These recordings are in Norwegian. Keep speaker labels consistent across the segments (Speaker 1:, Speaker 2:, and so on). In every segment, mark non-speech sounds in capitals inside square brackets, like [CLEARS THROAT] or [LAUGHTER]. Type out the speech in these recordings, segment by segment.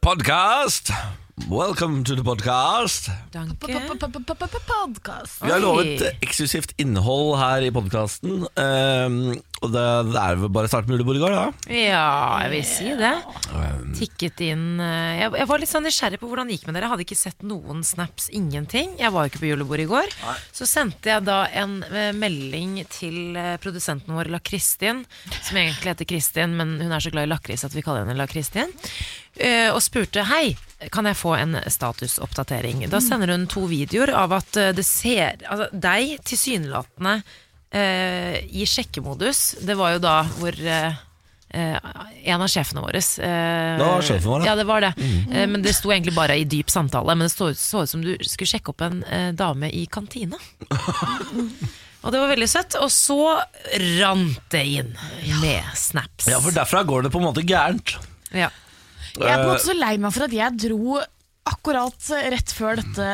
Speaker 1: podcast. Welcome to the podcast.
Speaker 2: Danke.
Speaker 3: Podkast.
Speaker 1: Vi har
Speaker 2: Oi.
Speaker 1: lovet eh, eksklusivt innhold her i podkasten. og det, det er vel bare å starte med Uleborgard, da.
Speaker 2: Ja, jeg vil si det. Tikket inn eh, Jeg, jeg var litt sånn nysgjerrig på hvordan det gikk med dere. Jeg hadde ikke sett noen snaps, ingenting. Jeg var jo ikke på julebord i går. Så sendte jeg da en eh, melding til eh, produsenten vår, La-Kristin, som egentlig heter Kristin, men hun er så glad i lakris at vi kaller henne La-Kristin, eh, og spurte hei. Kan jeg få en statusoppdatering? Da sender hun to videoer av at eh, det ser altså, deg tilsynelatende eh, i sjekkemodus. Det var jo da hvor eh, Eh, en av sjefene våre. eh,
Speaker 1: Det Mm. var sjefen vår, da.
Speaker 2: ja. det var det. Eh, men det sto egentlig bare i dyp samtale. Men det så, så ut som du skulle sjekke opp en eh, dame i
Speaker 1: [LAUGHS]
Speaker 2: kantina. Og det var veldig søtt. Og så rant det inn med snaps.
Speaker 1: Ja, for derfra går det på en måte gærent. Eh,
Speaker 2: Ja.
Speaker 3: Jeg er på en måte så lei meg for at jeg dro akkurat rett før dette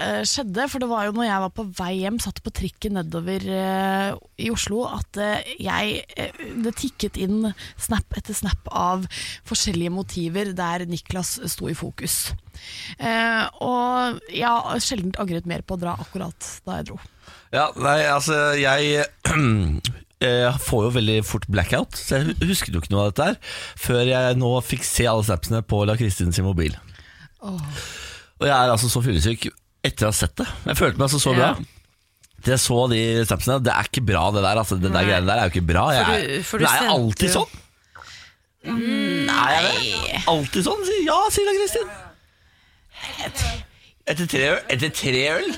Speaker 3: eh, skjedde. For det var jo når jeg var på vei hjem, satt på trikken nedover eh, i Oslo, at eh, jeg eh, Det tikket inn snap etter snap av forskjellige motiver der Niklas sto i fokus. Eh, og jeg har sjelden angret mer på å dra akkurat da jeg dro.
Speaker 1: Ja, nei, altså, jeg [CLEARS THROAT] eh, får jo veldig fort blackout, så jeg hu- husket jo ikke noe av dette her før jeg nå fikk se alle snapsene på La Kristin sin mobil. Og jeg er altså så fyllesyk etter å ha sett det. Jeg følte meg altså så bra.
Speaker 2: Ja.
Speaker 1: Jeg så de snapsene. Det er ikke bra, det der. Altså, det der
Speaker 2: Nei.
Speaker 1: greiene der er jo ikke bra. Jeg,
Speaker 2: For du- for du
Speaker 1: men er jeg
Speaker 2: sendte
Speaker 1: alltid
Speaker 2: jo- Mm.
Speaker 1: sånn? Nei. Er jeg det? alltid sånn? sier- Ja, sier da Kristin. Etter tre øl? Etter tre øl?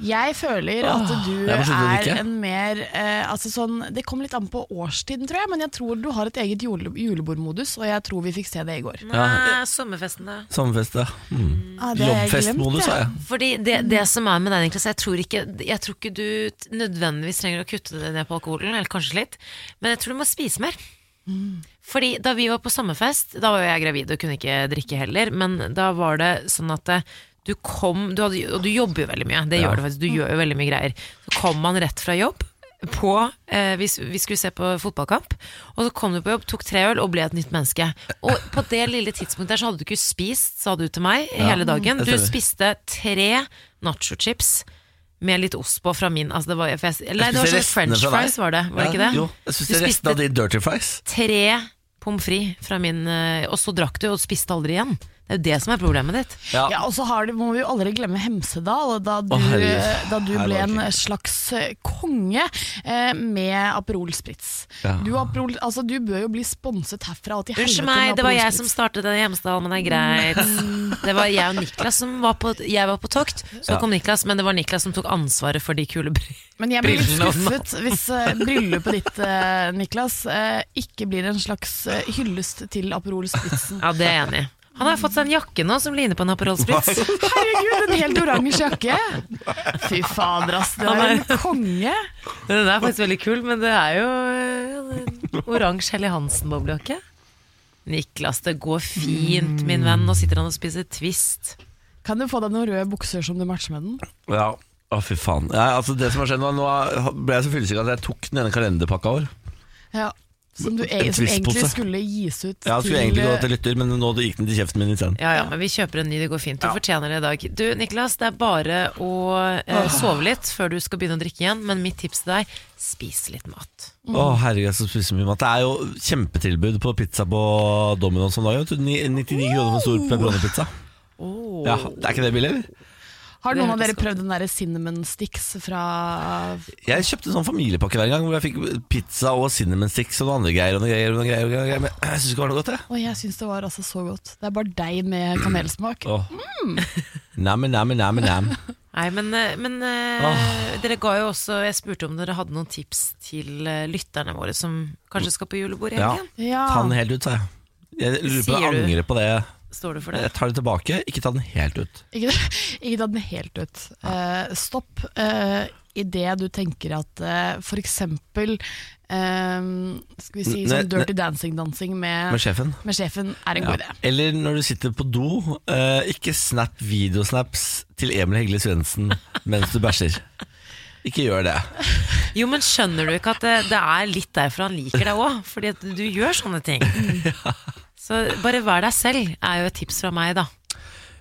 Speaker 3: Jeg føler
Speaker 1: Åh,
Speaker 3: at du
Speaker 1: jeg må slutte å
Speaker 3: er
Speaker 1: drikke.
Speaker 3: en mer eh, altså sånn, Det kommer litt an på årstiden, tror jeg, men jeg tror du har et eget jule, julebordmodus, og jeg tror vi fikk se det i går.
Speaker 2: Nei, sommerfesten, da.
Speaker 1: Sommerfest, ja. Mm.
Speaker 3: Ah, det har jeg glemt,
Speaker 1: Jobbfestmodus, sa
Speaker 3: jeg.
Speaker 1: jeg.
Speaker 2: Fordi det, det som er med den, Niklas, jeg tror, ikke, jeg tror ikke du t- nødvendigvis trenger å kutte det ned på alkoholen, eller kanskje litt, men jeg tror du må spise mer. Fordi da vi var på sommerfest, da var jo jeg gravid og kunne ikke drikke heller, men da var det sånn at eh, du kom, du hadde, og du jobber jo veldig mye, det
Speaker 1: Ja.
Speaker 2: gjør du faktisk, du gjør jo veldig mye greier. Så kom man rett fra jobb, på, eh, vi, s- vi skulle se på fotballkamp, og så kom du på jobb, tok tre øl og ble et nytt menneske. Og på det lille tidspunktet der så hadde du ikke spist, sa du til meg, hele dagen.
Speaker 1: det
Speaker 2: Du
Speaker 1: stemmer.
Speaker 2: spiste tre nachochips med litt ost på fra min altså det var, for jeg, Nei, det var
Speaker 1: spiste
Speaker 2: sånn french
Speaker 1: restene fra deg.
Speaker 2: fries, var det? Var det
Speaker 1: Ja,
Speaker 2: ikke det?
Speaker 1: Jo, jeg
Speaker 2: Du
Speaker 1: spiste resten
Speaker 2: spiste-
Speaker 1: av de dirty fries.
Speaker 2: tre pommes frites fra min eh, Og så drakk du og spiste aldri igjen. Det er jo det som er problemet ditt.
Speaker 1: Ja.
Speaker 3: Ja, og så har det, må vi jo aldri glemme Hemsedal, da du, eh,
Speaker 1: herregud.
Speaker 3: da du
Speaker 1: Her var
Speaker 3: ble
Speaker 1: det
Speaker 3: en
Speaker 1: ikke.
Speaker 3: slags eh, konge eh, med Aperol Spritz.
Speaker 1: Ja.
Speaker 3: Du, Aperol, altså, du bør jo bli sponset herfra. og til helvete
Speaker 2: Unnskyld
Speaker 3: med
Speaker 2: meg, det var
Speaker 3: Aperol
Speaker 2: jeg
Speaker 3: Spritz.
Speaker 2: som startet den i Hjemsdal, men det er greit. Det var jeg og Niklas som var på Jeg var på tokt, så
Speaker 1: Ja.
Speaker 2: kom Niklas, men det var Niklas som tok ansvaret for de kule bry-
Speaker 3: Men jeg blir litt
Speaker 1: Brillene om-
Speaker 3: skuffet hvis eh, bryllupet ditt, eh, Niklas, eh, ikke blir en slags eh, hyllest til Aperol Spritzen.
Speaker 2: Ja, det er jeg enig i. Han har fått seg en jakke nå som ligner på en Aperol Spritz.
Speaker 3: Herregud, en helt oransje jakke! Fy fader, ass. Du
Speaker 2: Han
Speaker 3: er
Speaker 2: er-
Speaker 3: en konge.
Speaker 2: [LAUGHS] Den er faktisk veldig kul, men det er jo eh, en oransje Helly Hansen-boblejakke. Niklas, det går fint, min venn. Nå sitter han og spiser Twist.
Speaker 3: Kan du få deg noen røde bukser som du matcher med den?
Speaker 1: Ja. Å, fy faen. Ja, altså, det som har skjedd nå, nå ble jeg så fyllesyk at jeg tok den ene kalenderpakka vår.
Speaker 3: Ja, som, du, e-
Speaker 1: En
Speaker 3: som
Speaker 1: twistpose.
Speaker 3: egentlig skulle gis ut
Speaker 1: Jeg skulle egentlig gå til lytter, men nå gikk den til kjeften min isteden.
Speaker 2: Ja, ja, men vi kjøper en ny, det går fint. Du fortjener det i dag. Du, Niklas, det er bare å eh, sove litt før du skal begynne å drikke igjen, men mitt tips til deg, spis litt mat.
Speaker 1: Å, herregud, jeg skal spise mye mat. Det er jo kjempetilbud på pizza på Domino's om dagen. vet du. Ni- 99 kroner for stor pepperoni-pizza. Ja, er ikke det billig, eller?
Speaker 3: Har noen av
Speaker 2: Det
Speaker 3: dere
Speaker 2: hørtes
Speaker 3: prøvd den der cinnamon sticks fra
Speaker 1: Jeg kjøpte en sånn familiepakke hver gang hvor jeg fikk pizza og cinnamon sticks og noen andre greier. og noen greier, og noen greier, og noen greier Men jeg syns ikke det var noe godt, jeg.
Speaker 3: Å, jeg syns det var altså så godt. Det er bare deig med kanelsmak.
Speaker 1: Åh. Nam, nam, nam, nam.
Speaker 2: Nei, men, eh, men eh, dere ga jo også Jeg spurte om dere hadde noen tips til eh, lytterne våre som kanskje skal på julebord i
Speaker 1: Ja.
Speaker 2: helgen.
Speaker 3: Ja.
Speaker 1: Ta den helt ut, sa jeg. Jeg lurer på om jeg
Speaker 2: Sier du?
Speaker 1: angrer på det.
Speaker 2: Står du for det?
Speaker 1: Jeg tar det tilbake. Ikke ta den helt ut.
Speaker 3: Ikke, [LAUGHS] ikke ta den helt ut. Eh, stopp uh, i det du tenker at uh, for eksempel eh, Skal vi si
Speaker 1: Ne-
Speaker 3: sånn
Speaker 1: ne-
Speaker 3: Dirty Dancing-dansing med,
Speaker 1: Med sjefen.
Speaker 3: med sjefen er en god idé.
Speaker 1: Eller når du sitter på do, eh, ikke snap videosnaps til Emil Hegle Svendsen mens du bæsjer. Ikke gjør det.
Speaker 2: Jo, men eh, [LAUGHS] skjønner du ikke at det, det er litt derfor han liker deg òg? Fordi at du gjør sånne ting. Så bare vær deg selv er jo et tips fra meg, da.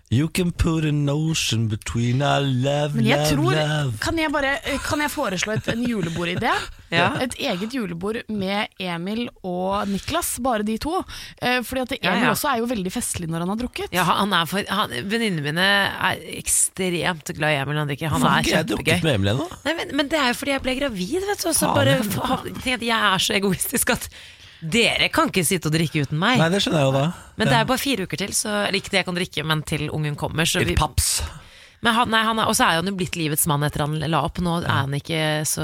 Speaker 1: You can put an ocean between our love,
Speaker 3: Men jeg
Speaker 1: love,
Speaker 3: tror,
Speaker 1: love.
Speaker 3: kan jeg, bare, eh, kan jeg foreslå et, en
Speaker 1: [LAUGHS]
Speaker 3: julebordidé?
Speaker 2: Ja.
Speaker 3: Et eget julebord med Emil og Niklas, bare de to. Eh, Fordi at Emil
Speaker 2: Ja, ja.
Speaker 3: også er jo veldig festlig når han har drukket.
Speaker 2: Ja, han er for han- Venninnene mine er ekstremt glad i Emil han drikker. Han
Speaker 1: Har
Speaker 2: er
Speaker 1: ikke jeg drukket
Speaker 2: kjempegøy.
Speaker 1: med Emil ennå?
Speaker 2: Nei, men, men det er jo fordi jeg ble gravid, vet du. Og så
Speaker 1: Faen,
Speaker 2: bare
Speaker 1: ja.
Speaker 2: fa- tenkte jeg at jeg er så egoistisk at dere kan ikke sitte og drikke uten meg.
Speaker 1: Nei, det skjønner jeg jo da.
Speaker 2: Men det er bare fire uker til, så eller ikke det jeg kan drikke, men til ungen kommer. Så
Speaker 1: Litt
Speaker 2: vi,
Speaker 1: paps.
Speaker 2: men han, nei, han er, og så er han jo blitt livets mann etter han la opp. Nå, er han ikke så,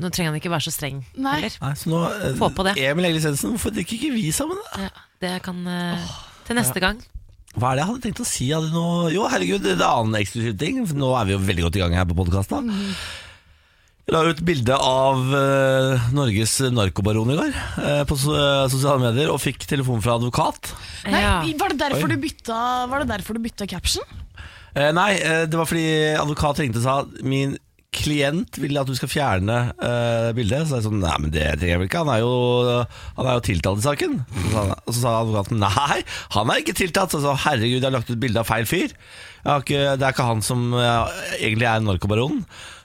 Speaker 2: nå trenger han ikke være så streng
Speaker 3: Nei.
Speaker 2: heller.
Speaker 1: Nei, så nå, eh,
Speaker 2: Få på det.
Speaker 1: Emil Egil-Sensen, hvorfor drikker ikke vi sammen? da?
Speaker 2: Ja, det kan eh, Til neste gang.
Speaker 1: Hva er det jeg hadde tenkt å si? Hadde noe... Jo, herregud, det er en annen eksklusiv ting. for Nå er vi jo veldig godt i gang her på podkasten. Jeg la ut bilde av eh, Norges narkobaron i går eh, på so eh, sosiale medier, og fikk telefon fra advokat.
Speaker 3: Nei,
Speaker 2: ja.
Speaker 3: var, det
Speaker 1: Oi.
Speaker 3: derfor du bytta, var det derfor du bytta caption?
Speaker 1: Eh, nei, eh, det var fordi advokat ringte og sa min klient vil at du skal fjerne eh, bildet. Så jeg sånn, nei, men det trenger jeg vel ikke. Han er jo, han er jo tiltalt i saken. Så sa, han- og så sa advokaten nei, han er ikke tiltalt. Så jeg sa herregud, jeg har lagt ut bilde av feil fyr. Jeg har ikke, det er ikke han som eh, egentlig er narkobaronen.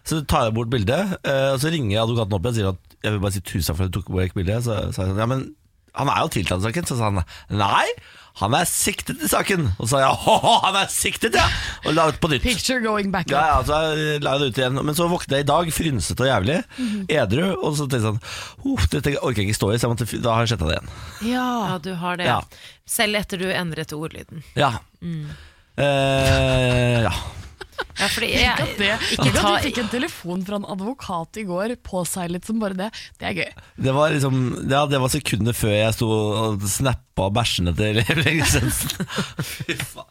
Speaker 1: Så tar jeg bort bildet, eh, og så ringer advokaten opp igjen og sier at jeg vil bare si tusen takk for at du tok bort bildet. Så sa jeg sånn, ja, men han er jo tiltalt i saken, så sa han nei, han er siktet i saken. Og så sa jeg «Haha, han er siktet, ja! Og la ut på nytt.
Speaker 3: Picture going back
Speaker 1: Ja,
Speaker 3: up.
Speaker 1: ja, så jeg la det ut igjen. Men så våkna jeg i dag, frynsete og jævlig, edru, og så tenkte jeg sånn Uff, dette orker jeg ikke stå i, så jeg måtte, f- da har jeg sletta det igjen.
Speaker 3: Ja.
Speaker 2: ja, du har det.
Speaker 1: Ja.
Speaker 2: Selv etter du endret ordlyden.
Speaker 1: Ja. Eh, ja.
Speaker 2: Ja, fordi
Speaker 3: Tenk
Speaker 2: jeg,
Speaker 3: at det,
Speaker 2: ikke
Speaker 3: at
Speaker 2: ta,
Speaker 3: vi fikk en telefon fra en advokat i går, påseilet som bare det. Det er gøy.
Speaker 1: Det var liksom Ja, det var sekundet før jeg sto og snappa bæsjene til [LAUGHS] Emil Egil-Sensen. Fy faen.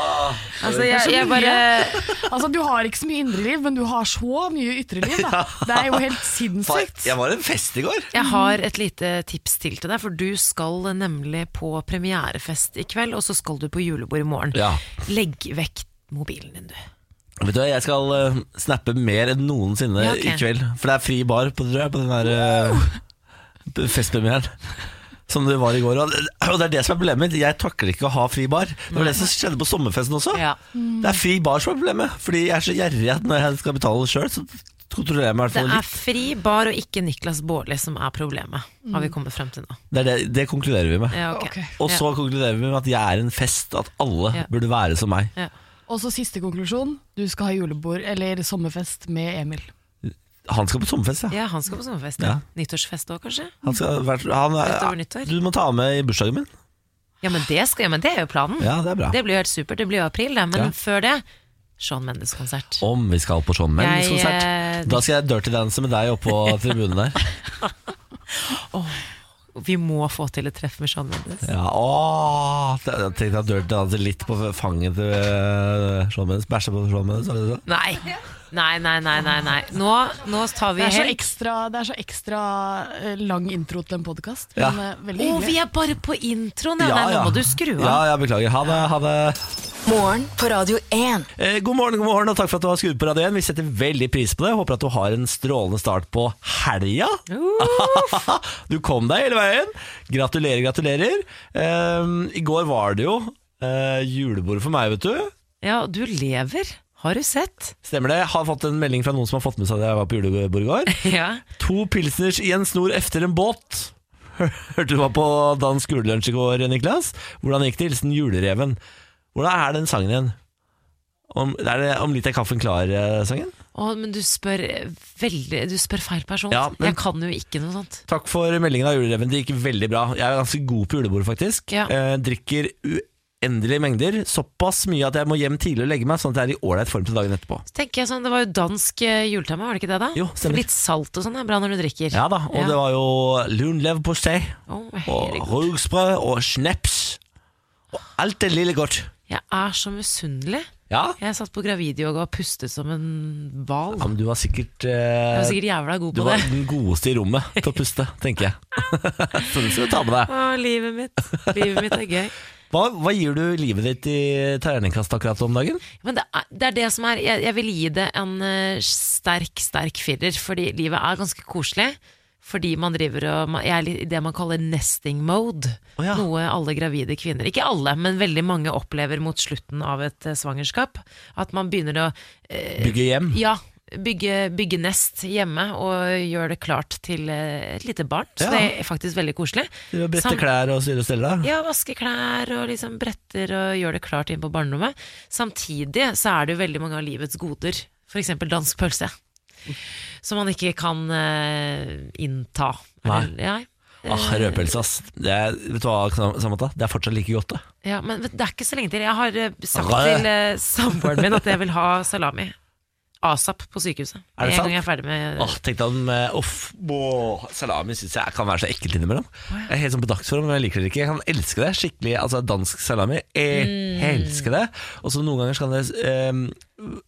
Speaker 2: altså,
Speaker 3: Det er
Speaker 2: jeg,
Speaker 3: så
Speaker 2: jeg
Speaker 3: mye.
Speaker 2: bare
Speaker 3: Altså, du har ikke så mye indre liv, men du har så mye ytre liv.
Speaker 2: [LAUGHS]
Speaker 3: Da. Det er jo helt sinnssykt.
Speaker 1: Jeg var en fest i går.
Speaker 2: Jeg har et lite tips til til deg, for du skal nemlig på premierefest i kveld, og så skal du på julebord i morgen.
Speaker 1: Ja.
Speaker 2: Legg vekk mobilen din, du.
Speaker 1: Vet du hva, Jeg skal eh, snappe mer enn noensinne
Speaker 2: Ja, ok.
Speaker 1: i kveld. For det er fri bar på, tror jeg, på den der eh, festpremieren. Som det var i går. Og og det er det som er problemet. Jeg takler ikke å ha fri bar. Det var det som skjedde på sommerfesten også.
Speaker 2: Ja.
Speaker 1: Det er fri bar som er problemet. Fordi jeg er så gjerrig at når jeg skal betale sjøl, så kontrollerer jeg meg i hvert
Speaker 2: Det
Speaker 1: fall
Speaker 2: er
Speaker 1: litt.
Speaker 2: fri bar og ikke Niklas Baarli som er problemet, har vi kommet frem til nå.
Speaker 1: Det, er det, det konkluderer vi med.
Speaker 2: Ja, ok.
Speaker 3: Mm. Ok.
Speaker 1: Og så konkluderer vi med at jeg er en fest. At alle
Speaker 2: Ja.
Speaker 1: burde være som meg.
Speaker 2: ja, ja.
Speaker 3: Og så siste konklusjon. Du skal ha julebord eller sommerfest med Emil.
Speaker 1: Han skal på sommerfest, ja.
Speaker 2: ja, han skal på sommerfest.
Speaker 1: Ja.
Speaker 2: Ja. Nyttårsfest òg, kanskje?
Speaker 1: Han skal, være- han
Speaker 2: Rett over nyttår.
Speaker 1: er, du må ta ham med i bursdagen min.
Speaker 2: Ja, men det, skal, ja, men det er jo planen.
Speaker 1: Ja, det er bra.
Speaker 2: Det blir jo helt supert. Det blir jo april, det. Men
Speaker 1: Ja.
Speaker 2: før det, Sean Mendes-konsert.
Speaker 1: Om vi skal på Sean Mendes konsert.
Speaker 2: Jeg, eh,
Speaker 1: Da skal jeg dirty dance med deg
Speaker 2: [LAUGHS]
Speaker 1: oppå tribunen der.
Speaker 2: Vi må få til et treff med Sean Mendes.
Speaker 1: Ja, åh, jeg tenkte at dirty dance litt på fanget til eh, Sean Mendes. Bæsje på Sean Mendes. var det sånn. det?
Speaker 2: Nei.
Speaker 3: [LAUGHS]
Speaker 2: Nei, nei, nei, nei, nei. Nå, nå tar vi
Speaker 3: Det er så
Speaker 2: helg.
Speaker 3: ekstra, det er så ekstra eh, lang intro til en podkast, men
Speaker 1: Ja.
Speaker 3: eh, veldig
Speaker 2: Å,
Speaker 3: hyggelig.
Speaker 2: vi er bare på introen, ja. Nei, nå må du skru av.
Speaker 1: Ja, ja, beklager. Ha det. ha det.
Speaker 4: Morgen på Radio 1.
Speaker 1: Eh, god morgen, god morgen, og takk for at du har skrudd på radioen. Vi setter veldig pris på det. Håper at du har en strålende start på helga.
Speaker 2: Uh.
Speaker 1: [LAUGHS] du kom deg hele veien. Gratulerer, gratulerer. Eh, I går var det jo eh, julebord for meg, vet du.
Speaker 2: Ja, du lever. Har du
Speaker 1: [LAUGHS]
Speaker 2: sett?
Speaker 1: Stemmer det. Har fått en melding fra noen som har fått med seg at jeg var på julebord i går.
Speaker 2: Ja.
Speaker 1: To pilsners i en snor efter en båt. [LAUGHS] Hørte du var på dansk julelunsj i går, Niklas? Hvordan gikk det? Hilsen Julereven. Hvordan er den sangen igjen? Om, er det om litt er kaffen eh, klar-sangen?
Speaker 2: Å, men du spør veldig Du spør feil person.
Speaker 1: Ja, men-
Speaker 2: Jeg kan jo ikke noe sånt.
Speaker 1: Takk for meldingen av Julereven. Det gikk veldig bra. Jeg er ganske god på julebord, faktisk.
Speaker 2: Ja.
Speaker 1: Eh, drikker uendelige mengder. Såpass mye at jeg må hjem tidlig og legge meg, sånn at jeg er i ålreit form til dagen etterpå.
Speaker 2: Så tenker jeg sånn, Det var jo dansk eh, juletema, var det ikke det? da?
Speaker 1: Jo, stemmer.
Speaker 2: Litt salt og sånn er bra når du drikker.
Speaker 1: Ja da, Og
Speaker 2: Ja.
Speaker 1: det var jo lunleverpostei
Speaker 2: Å,
Speaker 1: og
Speaker 2: herregud.
Speaker 1: rugsprø og snaps. Og alt det lille godt.
Speaker 2: Jeg er så misunnelig.
Speaker 1: Ja,
Speaker 2: Jeg satt på gravidyoga og pustet som en hval.
Speaker 1: Ja, men du var sikkert, eh,
Speaker 2: Jeg var sikkert jævla god
Speaker 1: Du
Speaker 2: på
Speaker 1: var
Speaker 2: det.
Speaker 1: den godeste i rommet til å puste, tenker jeg. [LAUGHS] Så du skal ta med deg.
Speaker 2: Å, livet mitt. Livet mitt er gøy.
Speaker 1: Hva, hva gir du livet ditt i terningkast akkurat om dagen?
Speaker 2: Men det er, det er det som er Jeg, jeg vil gi det en eh, sterk, sterk firer, fordi livet er ganske koselig. Fordi man driver og man- Jeg er litt i det man kaller nesting mode.
Speaker 1: Å ja.
Speaker 2: Noe alle gravide kvinner, ikke alle, men veldig mange opplever mot slutten av et eh, svangerskap. At man begynner å eh,
Speaker 1: Bygge hjem.
Speaker 2: ja, bygge, bygge nest hjemme og gjøre det klart til eh, et lite barn. Så
Speaker 1: Ja.
Speaker 2: det er faktisk veldig koselig.
Speaker 1: Du har Brette
Speaker 2: Sam-
Speaker 1: klær og styre og stelle.
Speaker 2: Ja, vaske klær og liksom bretter og gjøre det klart inn på barnerommet. Samtidig så er det jo veldig mange av livets goder, f.eks. dansk pølse, som man ikke kan eh, innta.
Speaker 1: Nei.
Speaker 2: Eller- Ja,
Speaker 1: Ah, Rødpølse, ass. Det er, vet du hva, Samantha? Det er fortsatt like godt, det.
Speaker 2: ja, men vet du, det er ikke så lenge til. Jeg har eh, sagt
Speaker 1: Rød.
Speaker 2: til eh, samboeren min at jeg vil ha salami. ASAP på sykehuset.
Speaker 1: Er det
Speaker 2: en
Speaker 1: sant?
Speaker 2: gang jeg er ferdig med
Speaker 1: Åh, tenkte han med eh, Uff, åh, salami syns jeg kan være så ekkelt innimellom. Jeg er helt sånn på dagsform, men jeg liker det ikke. Jeg kan elske det skikkelig. Altså dansk salami. Jeg elsker det. Og så noen ganger så kan det eh,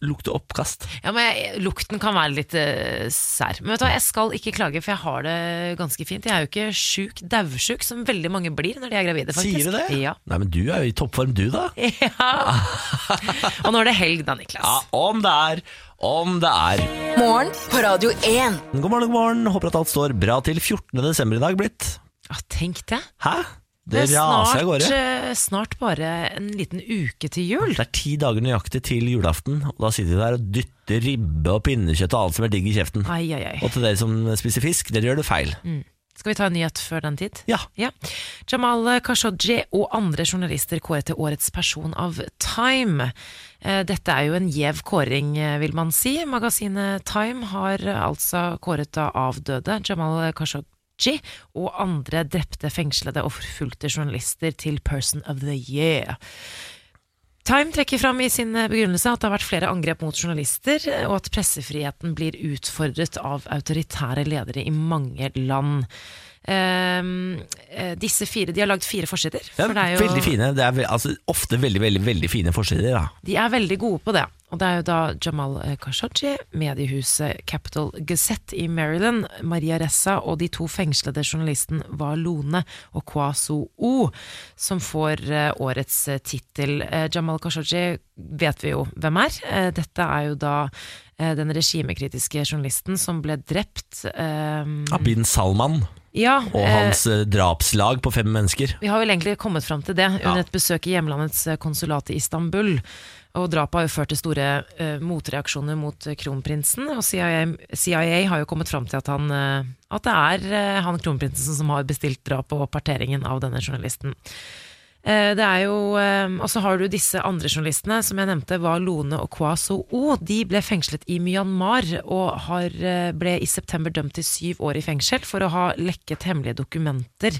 Speaker 1: lukte oppkast.
Speaker 2: Ja, men jeg, Lukten kan være litt eh, sær. Men vet du hva, jeg skal ikke klage, for jeg har det ganske fint. Jeg er jo ikke sjuk, daudsjuk, som veldig mange blir når de er gravide. faktisk
Speaker 1: Sier du det?
Speaker 2: Ja.
Speaker 1: Nei, men du er jo i toppform, du, da.
Speaker 2: [LAUGHS] ja. Og nå er det helg, da, Niklas.
Speaker 1: Ja, om det er. Om det er.
Speaker 4: Morgen på Radio 1.
Speaker 1: God morgen, god morgen. Håper at alt står bra til 14. desember i dag blitt.
Speaker 2: Ja, tenk det.
Speaker 1: Hæ? Det
Speaker 2: er
Speaker 1: raser
Speaker 2: snart,
Speaker 1: av gårde.
Speaker 2: eh, snart bare en liten uke til jul.
Speaker 1: Det er ti dager nøyaktig til julaften, og da sitter de der og dytter ribbe og pinnekjøtt og alt som er digg i kjeften.
Speaker 2: Ai, ai, ai.
Speaker 1: Og til dere som spiser fisk, dere gjør det feil.
Speaker 2: Mm. Skal vi ta en nyhet før den tid?
Speaker 1: Ja.
Speaker 2: Jamal Khashoggi og andre journalister kåret til årets person av Time. Eh, Dette er jo en gjev kåring, eh, vil man si. Magasinet Time har eh, altså kåret da avdøde Jamal Khashoggi og andre drepte, fengslede og forfulgte journalister til Person of the Year. Time trekker fram i sin eh, begrunnelse at det har vært flere angrep mot journalister, eh, og at pressefriheten blir utfordret av autoritære ledere i mange land. Ehm, eh, disse fire, De har lagd fire forsider.
Speaker 1: Ja,
Speaker 2: for det er jo-
Speaker 1: Veldig fine. Det er ve- altså, ofte veldig, veldig veldig fine forsider. Da.
Speaker 2: de er veldig gode på det. Og det er jo da Jamal eh, Khashoggi, mediehuset Capital Gazette i Maryland, Maria Ressa og de to fengslede journalisten Valone og Kwaso O, som får eh, årets eh, tittel. Eh, Jamal Khashoggi vet vi jo hvem er. Eh, Dette er jo da eh, den regimekritiske journalisten som ble drept. eh,
Speaker 1: Bin Salman
Speaker 2: Ja,
Speaker 1: og
Speaker 2: eh,
Speaker 1: hans eh, drapslag på fem mennesker.
Speaker 2: vi har vel egentlig kommet fram til det under et besøk i hjemlandets eh, konsulat i Istanbul. Og drapet har jo ført til store eh, motreaksjoner mot eh, kronprinsen. Og CIA, CIA har jo kommet fram til at, han, eh, at det er eh, han kronprinsen som har bestilt drapet og parteringen av denne journalisten. Eh, Det er jo, eh, og så har du disse andre journalistene som jeg nevnte, var Lone og Kwaso O. De ble fengslet i Myanmar og har, eh, ble i september dømt til syv år i fengsel for å ha lekket hemmelige dokumenter.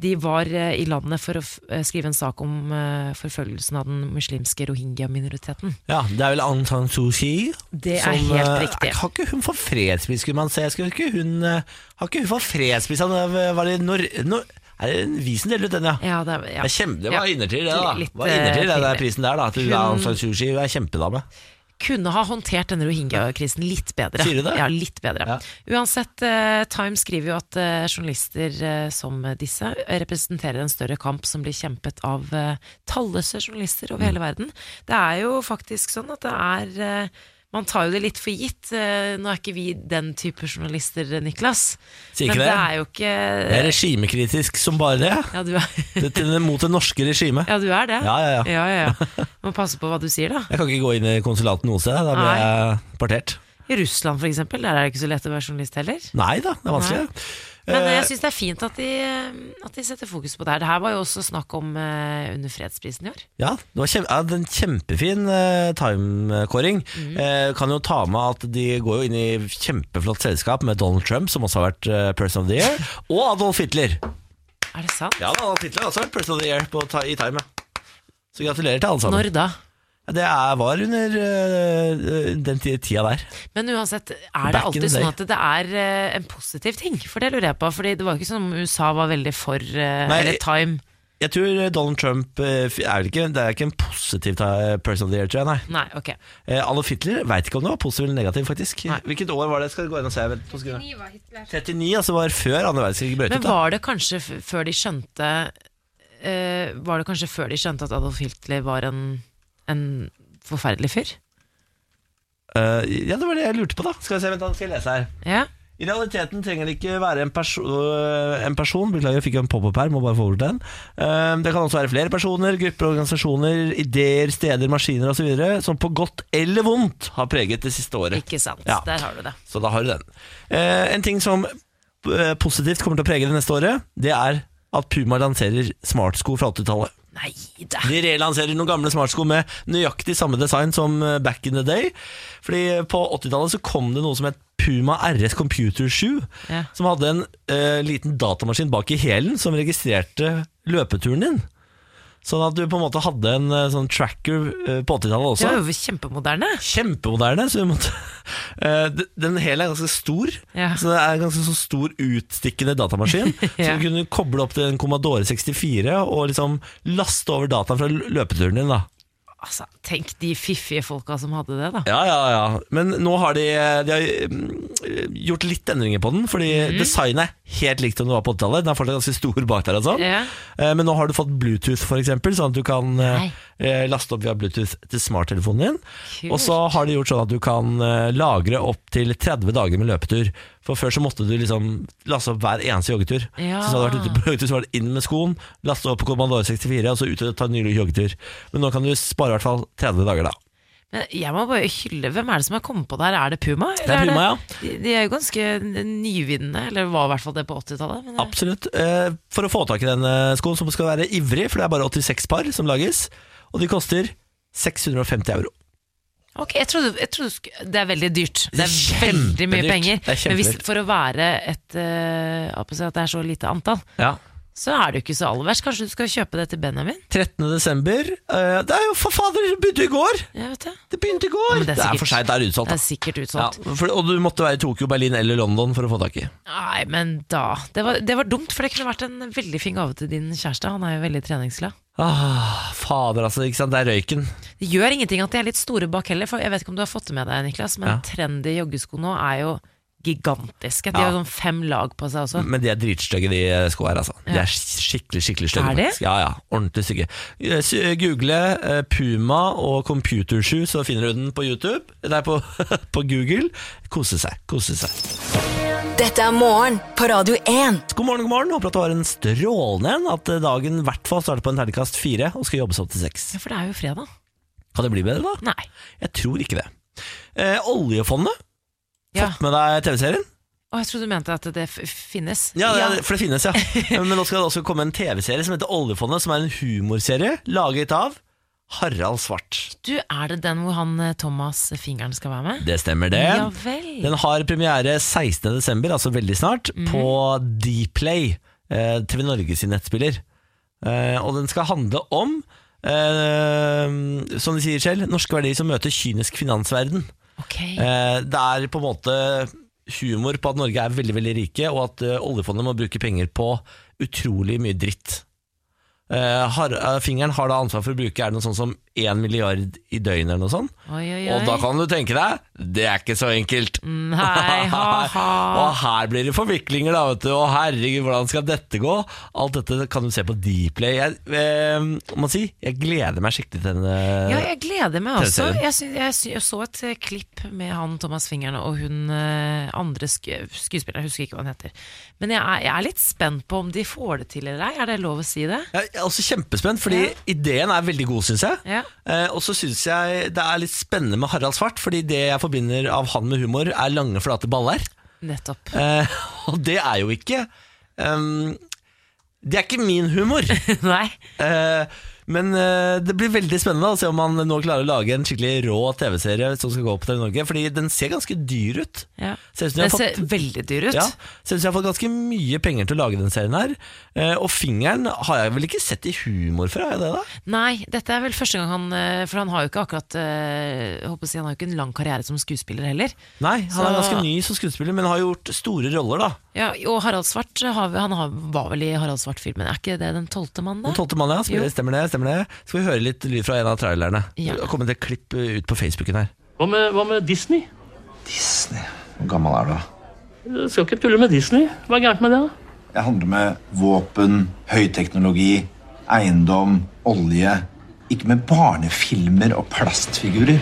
Speaker 2: De var eh, i landet for å f- eh, skrive en sak om eh, forfølgelsen av den muslimske rohingya-minoriteten.
Speaker 1: Ja, Det er vel Aung San Suu Kyi
Speaker 2: Det er
Speaker 1: som,
Speaker 2: helt
Speaker 1: eh,
Speaker 2: riktig.
Speaker 1: Har ikke hun fått fredspris, skulle man se? Skulle ikke hun, eh, har ikke hun fått fredspris? Han, eh, Var det Nor Nor er det en vi som deler ut den, ja?
Speaker 2: Ja, det, er- ja.
Speaker 1: Det er kjempe, det var
Speaker 2: Ja.
Speaker 1: innertid, det da.
Speaker 2: Litt,
Speaker 1: var innertid, det
Speaker 2: eh,
Speaker 1: der prisen der, da. Til
Speaker 2: Hun-
Speaker 1: Aung San Suu Kyi. Hun er kjempedame.
Speaker 2: kunne ha håndtert denne rohingya-krisen litt bedre.
Speaker 1: Sier du det?
Speaker 2: Ja, litt bedre.
Speaker 1: Ja.
Speaker 2: Uansett, eh, Time skriver jo at eh, journalister eh, som disse representerer en større kamp som blir kjempet av eh, talløse journalister
Speaker 1: Mm.
Speaker 2: over hele verden. Det er jo faktisk sånn at det er eh, man tar jo det litt for gitt. Eh, Nå er ikke vi den type journalister, Niklas.
Speaker 1: Sier ikke
Speaker 2: Men
Speaker 1: det?
Speaker 2: det er jo ikke
Speaker 1: Det er regimekritisk som bare det.
Speaker 2: ja, du er, [LAUGHS]
Speaker 1: Det- til- Mot det norske regimet.
Speaker 2: ja, du er det.
Speaker 1: Ja, ja, ja.
Speaker 2: ja, ja. Må passe på hva du sier, da.
Speaker 1: Jeg kan ikke gå inn i konsulatet noe sted. Da blir
Speaker 2: Nei.
Speaker 1: jeg partert.
Speaker 2: I Russland, for eksempel, der er det ikke så lett å være journalist heller.
Speaker 1: Nei da, det er vanskelig.
Speaker 2: Men eh,
Speaker 1: Eh,
Speaker 2: jeg syns det er fint at de, eh, at de setter fokus på det her. Det her var jo også snakk om eh, under fredsprisen i år.
Speaker 1: Ja, det var kjem, ja, det er en kjempefin eh, time-kåring.
Speaker 2: Mm.
Speaker 1: Eh, kan jo ta med at de går jo inn i kjempeflott selskap med Donald Trump, som også har vært eh, Person of the
Speaker 2: [LAUGHS]
Speaker 1: Year, og Adolf Hitler.
Speaker 2: Er det sant?
Speaker 1: Ja, da, Adolf Hitler har også vært Person of the Year på, ti- i time. ja. Så gratulerer til alle sammen.
Speaker 2: Når da?
Speaker 1: Ja, Det er, var under eh, den ti- tida der.
Speaker 2: Men uansett, er det
Speaker 1: Back in
Speaker 2: alltid
Speaker 1: the day.
Speaker 2: sånn at det er eh, en positiv ting? For det lurer jeg på. Fordi det var jo ikke sånn om USA var veldig for eh,
Speaker 1: Nei,
Speaker 2: eller Time.
Speaker 1: Jeg tror Donald Trump eh, f- er vel ikke, Det er ikke en positiv ti- Person of the Year, tror jeg. nei
Speaker 2: Nei, ok.
Speaker 1: Eh, Adolf Hitler veit ikke om det var positiv eller negativ, faktisk.
Speaker 2: Nei.
Speaker 1: Hvilket år var det? Skal jeg gå inn og se? Vent, to sekunder. 39, altså var før andre verdenskrig brøt
Speaker 2: Men
Speaker 1: ut. da.
Speaker 2: var det kanskje f før de skjønte eh, Var det kanskje før de skjønte at Adolf Hitler var en, en forferdelig fyr?
Speaker 1: Eh, ja, det var det jeg lurte på, da. Skal vi se, vent, da skal jeg lese her.
Speaker 2: Ja?
Speaker 1: I realiteten trenger det ikke være en, perso øh, en person. Beklager, jeg fikk en pop-up her. Må bare få over den. Ehm, Det kan også være flere personer, grupper, organisasjoner, ideer, steder, maskiner osv. som på godt eller vondt har preget det siste året.
Speaker 2: Ikke sant.
Speaker 1: Ja.
Speaker 2: Der har du det.
Speaker 1: Så da har du den. Eh, en ting som eh, positivt kommer til å prege det neste året, det er at Puma lanserer smartsko fra 80-tallet.
Speaker 2: Nei da.
Speaker 1: De relanserer noen gamle smartsko med nøyaktig samme design som eh, back in the day. Fordi på 80-tallet så kom det noe som het Puma RS Computer Shoe,
Speaker 2: Ja.
Speaker 1: som hadde en eh, liten datamaskin bak i hælen som registrerte løpeturen din. Sånn at du på en måte hadde en eh, sånn tracker eh, på 80-tallet også.
Speaker 2: Det var jo kjempemoderne.
Speaker 1: Kjempemoderne. Så vi måtte, [LAUGHS] Eh, d- den hele er ganske stor,
Speaker 2: Ja.
Speaker 1: så det er en ganske så stor utstikkende datamaskin. Så
Speaker 2: [LAUGHS] Ja.
Speaker 1: du kunne koble opp til en Commodore 64 og liksom laste over dataen fra l- løpeturen din. da
Speaker 2: Altså, tenk de fiffige folka som hadde det, da.
Speaker 1: Ja, ja, ja. Men nå har de, de har mm, gjort litt endringer på den, fordi
Speaker 2: Mhm.
Speaker 1: designet er helt likt som det var på 80-tallet. Den er fortsatt ganske stor bak der. Altså.
Speaker 2: Ja.
Speaker 1: Eh, Men nå har du fått Bluetooth, for eksempel, sånn at du kan eh, eh, laste opp via Bluetooth til smarttelefonen din.
Speaker 2: Kult.
Speaker 1: Og så har de gjort sånn at du kan eh, lagre opp til 30 dager med løpetur. For før så måtte du liksom laste opp hver eneste joggetur.
Speaker 2: Ja.
Speaker 1: Så hvis du hadde vært ute på joggetur, så var det inn med skoen, laste opp på Commandore 64, og så ut og ta en ny joggetur. Men nå kan du spare i hvert fall 30 dager, da.
Speaker 2: Men jeg må bare hylle Hvem er det som har kommet på det her? Er det Puma?
Speaker 1: Det er Puma, ja.
Speaker 2: De, de er jo ganske nyvinnende, eller var i hvert fall det på 80-tallet. men-
Speaker 1: Absolutt. Eh, For å få tak i denne skoen, så skal du være ivrig, for det er bare 86 par som lages. Og de koster 650 euro.
Speaker 2: Ok, jeg trodde, jeg trodde du sk- Det er veldig dyrt. Det er
Speaker 1: kjempedyrt.
Speaker 2: veldig mye penger.
Speaker 1: Det er
Speaker 2: Men hvis,
Speaker 1: kjempedyrt.
Speaker 2: for å være et eh, jeg holdt på å si At det er så lite antall,
Speaker 1: Ja.
Speaker 2: så er det jo ikke så aller verst. Kanskje du skal kjøpe det til Benjamin?
Speaker 1: 13. desember. Eh, Det er jo for fader, det begynte i går!
Speaker 2: Jeg vet det.
Speaker 1: Det begynte i går!
Speaker 2: men det
Speaker 1: det,
Speaker 2: er
Speaker 1: er
Speaker 2: sikkert-
Speaker 1: for seint, det er utsolgt.
Speaker 2: Det
Speaker 1: da.
Speaker 2: er sikkert
Speaker 1: Ja,
Speaker 2: utsolgt.
Speaker 1: for, og du måtte være i Tokyo, Berlin eller London for å få tak i.
Speaker 2: Nei, men da det var, det var dumt, for det kunne vært en veldig fin gave til din kjæreste. Han er jo veldig treningsglad.
Speaker 1: Ah, fader, altså. Ikke sant? Det er røyken.
Speaker 2: Det gjør ingenting at de er litt store bak heller, for jeg vet ikke om du har fått det med deg, Niklas, men
Speaker 1: Ja.
Speaker 2: trendy joggesko nå er jo gigantiske. De har jo sånn fem lag på seg også.
Speaker 1: Men de er dritstygge, de skoene her. Altså. De
Speaker 2: Ja.
Speaker 1: er skikkelig skikkelig stygge.
Speaker 2: Er de?
Speaker 1: faktisk. Ja, ja, Ordentlig stygge. Eh, s- Google eh, Puma og Computer Shoe, så finner du den på YouTube. Nei, på, [LAUGHS] på Google. Kose seg. kose seg
Speaker 4: Dette er morgen på Radio 1.
Speaker 1: God morgen, god morgen. Håper at du har en strålende en. At eh, dagen i hvert fall starter på en terningkast fire og skal jobbes opp til seks.
Speaker 2: Ja, for det er jo fredag.
Speaker 1: Kan det bli bedre, da?
Speaker 2: Nei.
Speaker 1: Jeg tror ikke det. Eh, oljefondet,
Speaker 2: Ja.
Speaker 1: med deg TV-serien?
Speaker 2: Og jeg trodde du mente at det f finnes.
Speaker 1: Ja, det, for det finnes, ja. Men nå skal det også komme en TV-serie som heter Oljefondet, som er en humorserie laget av Harald Svart.
Speaker 2: Du, er det den hvor han eh, Thomas Fingeren skal være med?
Speaker 1: Det stemmer, det.
Speaker 2: Ja vel.
Speaker 1: Den har premiere 16. desember, altså veldig snart, på Dplay, eh, TV Norge sin nettspiller. Eh, og den skal handle om, eh, som de sier selv, norske verdier som møter kynisk finansverden.
Speaker 2: Ok.
Speaker 1: Eh, Det er på en måte humor på at Norge er veldig, veldig rike, og at eh, oljefondet må bruke penger på utrolig mye dritt. Eh, har, eh, fingeren har da ansvar for å bruke er det noe sånt som 1 milliard i døgnet eller noe sånt.
Speaker 2: Oi, oi, oi.
Speaker 1: Og da kan du tenke deg, det er ikke så enkelt. [LAUGHS]
Speaker 2: Nei, ha-ha.
Speaker 1: og her blir det forviklinger, da, vet du. Og herregud, hvordan skal dette gå? Alt dette kan du se på Dplay. Jeg eh, må si, jeg gleder meg skikkelig til denne
Speaker 2: Ja, jeg gleder meg også.
Speaker 1: Eh, TV-serien.
Speaker 2: Jeg, sy jeg, sy jeg så et eh, klipp med han Thomas Fingeren og hun eh, andre sk skuespilleren, jeg husker ikke hva hun heter. Men jeg er, jeg er litt spent på om de får det til eller ei, er det lov å si det?
Speaker 1: Jeg er også kjempespent, fordi
Speaker 2: Ja.
Speaker 1: ideen er veldig god, syns jeg.
Speaker 2: Ja.
Speaker 1: Eh, og så syns jeg det er litt spennende med Harald Svart, fordi det jeg forbinder av han med humor, er lange, flate baller.
Speaker 2: Nettopp.
Speaker 1: Eh, [LAUGHS] og det er jo ikke ehm, Det er ikke min humor.
Speaker 2: [LAUGHS] Nei.
Speaker 1: Eh, men eh, det blir veldig spennende å se om han nå klarer å lage en skikkelig rå TV-serie som skal gå på TV Norge, fordi den ser ganske dyr ut.
Speaker 2: Ja.
Speaker 1: Ser ut som de
Speaker 2: Det
Speaker 1: har fått
Speaker 2: ser veldig dyr ut.
Speaker 1: ja, ser ut som jeg har fått ganske mye penger til å lage den serien her. Eh, og fingeren har jeg vel ikke sett i humor før, har jeg det da?
Speaker 2: Nei, dette er vel første gang han eh, For han har jo ikke akkurat eh, jeg håper å si, Han har jo ikke en lang karriere som skuespiller heller.
Speaker 1: Nei, han
Speaker 2: Så-
Speaker 1: er ganske ny som skuespiller, men har gjort store roller, da.
Speaker 2: Ja, og Harald Svart har, han har, var vel i Harald Svart-filmen. Er ikke det den tolvte mannen,
Speaker 1: Den
Speaker 2: da?
Speaker 1: tolvte mannen, ja.
Speaker 2: Jo.
Speaker 1: Stemmer, stemmer det. stemmer det Skal vi høre litt lyd fra en av trailerne?
Speaker 2: Ja.
Speaker 1: Det har kommet et klipp eh, ut på Facebooken her.
Speaker 5: Hva med, hva med Disney?
Speaker 6: Disney. Hvor gammel er du? da?
Speaker 5: Du skal ikke tulle med Disney. Hva er gærent med det? da?
Speaker 6: Jeg handler med våpen, høyteknologi, eiendom, olje. Ikke med barnefilmer og plastfigurer.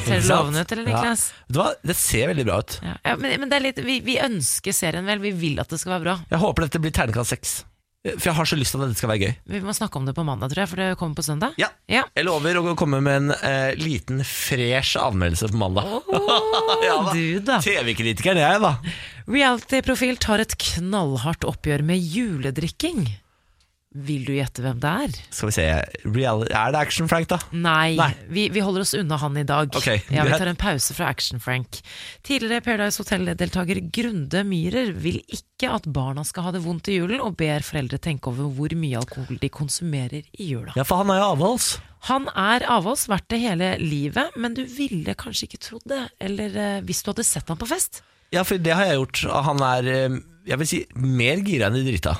Speaker 2: Ser ser det lovende ut, eller, Niklas?
Speaker 1: Ja. Vet du hva? Det ser veldig bra ut.
Speaker 2: Ja. Ja, men, men det er litt, vi, vi ønsker serien vel, vi vil at det skal være bra.
Speaker 1: Jeg håper dette blir terningkast seks. Eh, For jeg har så lyst til at dette skal være gøy.
Speaker 2: Vi må snakke om det på mandag, tror jeg, for det kommer på søndag.
Speaker 1: Ja.
Speaker 2: Ja.
Speaker 1: Jeg lover å komme med en eh, liten fresh anmeldelse på mandag. [LAUGHS] Ja
Speaker 2: du da.
Speaker 1: TV-kritikeren jeg, da.
Speaker 2: Reality-profil tar et knallhardt oppgjør med juledrikking. Vil du gjette hvem det er?
Speaker 1: Skal vi se Real Er det Action Frank, da?
Speaker 2: Nei,
Speaker 1: Nei.
Speaker 2: vi, vi holder oss unna han i dag.
Speaker 1: Ok,
Speaker 2: ja, vi
Speaker 1: greit.
Speaker 2: tar en pause fra Action-Frank. Tidligere Paradise Hotel-deltaker Grunde Myhrer vil ikke at barna skal ha det vondt i julen, og ber foreldre tenke over hvor mye alkohol de konsumerer i jula.
Speaker 1: Ja, for han er jo avholds.
Speaker 2: Han er avholds vært det hele livet, men du ville kanskje ikke trodd det, eller eh, hvis du hadde sett han på fest.
Speaker 1: Ja, for det har jeg gjort. Og Han er eh, jeg vil si, mer gira enn de drita.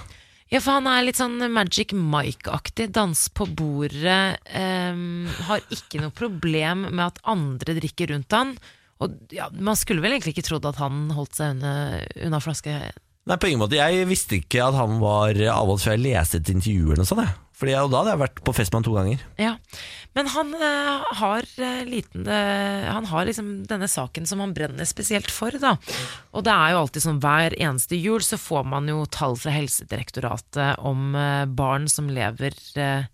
Speaker 2: Ja, for han er litt sånn Magic Mike-aktig. Dans på bordet. ehm, har ikke noe problem med at andre drikker rundt han. Og ja, Man skulle vel egentlig ikke trodd at han holdt seg unna, unna flaske.
Speaker 1: Nei, på ingen måte. Jeg visste ikke at han var avholds før jeg leste et intervju eller noe sånt. jeg. Fordi jeg, og da hadde jeg vært på fest med han to ganger.
Speaker 2: Ja. Men han eh, har eh, liten eh, Han har liksom denne saken som han brenner spesielt for, da. Og det er jo alltid sånn hver eneste jul så får man jo tall fra Helsedirektoratet om eh, barn som lever eh,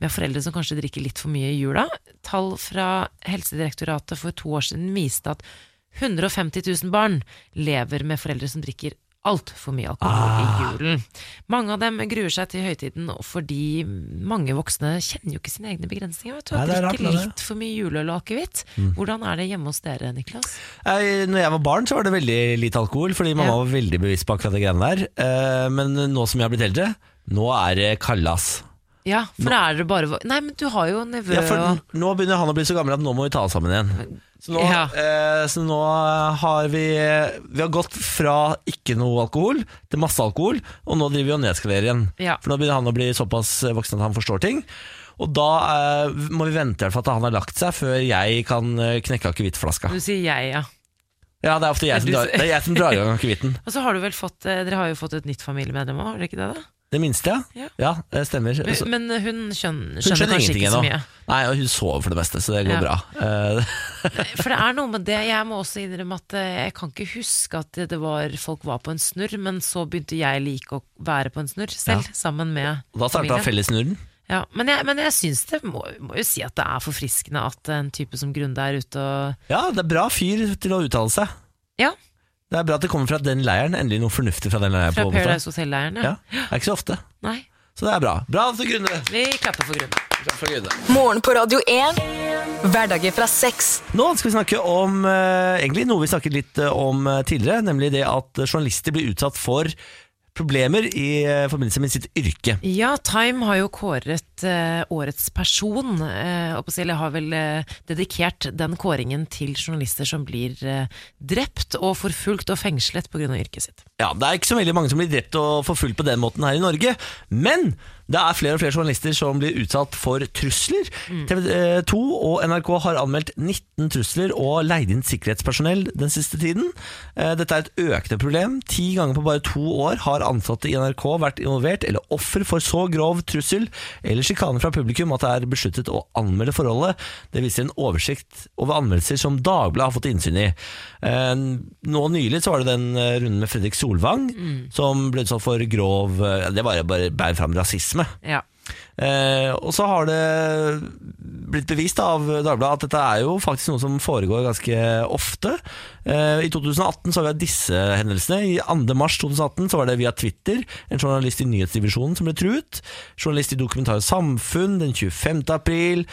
Speaker 2: med foreldre som kanskje drikker litt for mye i jula. Tall fra Helsedirektoratet for to år siden viste at 150 000 barn lever med foreldre som drikker altfor mye alkohol
Speaker 1: Ah.
Speaker 2: i julen. Mange av dem gruer seg til høytiden og fordi mange voksne kjenner jo ikke sine egne begrensninger. Vet du,
Speaker 1: Nei, det er rart,
Speaker 2: drikker
Speaker 1: det Mm. er det.
Speaker 2: litt for mye juleøl og akevitt. Hvordan er det hjemme hos dere, Niklas?
Speaker 1: Jeg, når jeg var barn, så var det veldig lite alkohol, fordi mamma
Speaker 2: Ja.
Speaker 1: var veldig bevisst på akkurat det greiene der. Eh, men nå som jeg har blitt eldre, nå er det kallas.
Speaker 2: Ja, for da er det bare Nei, men du har jo nevø
Speaker 1: Ja, for
Speaker 2: og
Speaker 1: nå begynner han å bli så gammel at nå må vi ta oss sammen igjen. Så nå,
Speaker 2: Ja.
Speaker 1: eh, så nå har vi Vi har gått fra ikke noe alkohol til masse alkohol, og nå driver vi og nedskalerer igjen.
Speaker 2: Ja.
Speaker 1: For nå begynner han å bli såpass voksen at han forstår ting. Og da eh, må vi vente i hvert fall til han har lagt seg, før jeg kan eh, knekke akevittflaska.
Speaker 2: Du sier jeg, ja.
Speaker 1: Ja, det er ofte jeg som
Speaker 2: Mm. du
Speaker 1: drar,
Speaker 2: sier-
Speaker 1: det er jeg som drar i
Speaker 2: [LAUGHS]
Speaker 1: gang akevitten.
Speaker 2: Og så har du vel fått eh, Dere har jo fått et nytt familiemedlem òg, har dere ikke det? da?
Speaker 1: Det minste, ja.
Speaker 2: Ja.
Speaker 1: Ja, det stemmer. Så-
Speaker 2: Men men hun
Speaker 1: Altså-
Speaker 2: skjønner,
Speaker 1: Hun
Speaker 2: skjønner,
Speaker 1: skjønner
Speaker 2: kanskje
Speaker 1: ingenting
Speaker 2: ikke så
Speaker 1: ennå.
Speaker 2: mye.
Speaker 1: Nei, og hun sover for det meste, så det går
Speaker 2: Ja.
Speaker 1: bra. Eh, [LAUGHS]
Speaker 2: For det er noe med det. Jeg må også innrømme at eh, jeg kan ikke huske at det var folk var på en snurr, men så begynte jeg like å være på en snurr selv, sammen med
Speaker 1: og da starta
Speaker 2: familien.
Speaker 1: fellesnurren.
Speaker 2: Ja, men jeg, men jeg syns det må, må jo si at det er forfriskende at en type som Grunde er ute og
Speaker 1: Ja, det er bra fyr til å uttale seg.
Speaker 2: Ja,
Speaker 1: Det er bra at det kommer fra den leiren. Endelig noe fornuftig fra den leiren.
Speaker 2: fra
Speaker 1: på en måte.
Speaker 2: Paradise Hotel-leiren, ja.
Speaker 1: Ja, det er ikke så ofte.
Speaker 2: Nei,
Speaker 1: Så det er bra. Bra for Grunde.
Speaker 2: vi klapper for Grunde.
Speaker 1: Bra for Grunde.
Speaker 4: Morgen på Radio 1. Hverdager fra seks.
Speaker 1: Nå skal vi snakke om eh, egentlig noe vi snakket litt eh, om eh, tidligere, nemlig det at journalister blir utsatt for problemer i eh, forbindelse med sitt yrke.
Speaker 2: Ja, Time har jo kåret eh, årets person, eh, og på siden har vel eh, dedikert den kåringen til journalister som blir eh, drept og forfulgt og fengslet pga. yrket sitt.
Speaker 1: Ja, Det er ikke så veldig mange som blir drept og forfulgt på den måten her i Norge, men det er flere og flere journalister som blir utsatt for trusler. TV 2 og NRK har anmeldt 19 trusler og leid inn sikkerhetspersonell den siste tiden. Eh, Dette er et økende problem. Ti ganger på bare to år har ansatte i NRK vært involvert eller offer for så grov trussel eller sjikane fra publikum at det er besluttet å anmelde forholdet. Det viser en oversikt over anmeldelser som Dagbladet har fått innsyn i. Eh, Nå nylig så var det den eh, runden med Fredrik Solvang som ble utsatt for grov eh, Det var jo bare bærer fram rasisme.
Speaker 2: Ja.
Speaker 1: Eh, og så har det blitt bevist av Dagbladet at dette er jo faktisk noe som foregår ganske ofte. Eh, I 2018 så har vi hatt disse hendelsene. I 2. mars 2018 så var det via Twitter en journalist i nyhetsdivisjonen som ble truet. Journalist i Dokumentar og Samfunn den 25. april.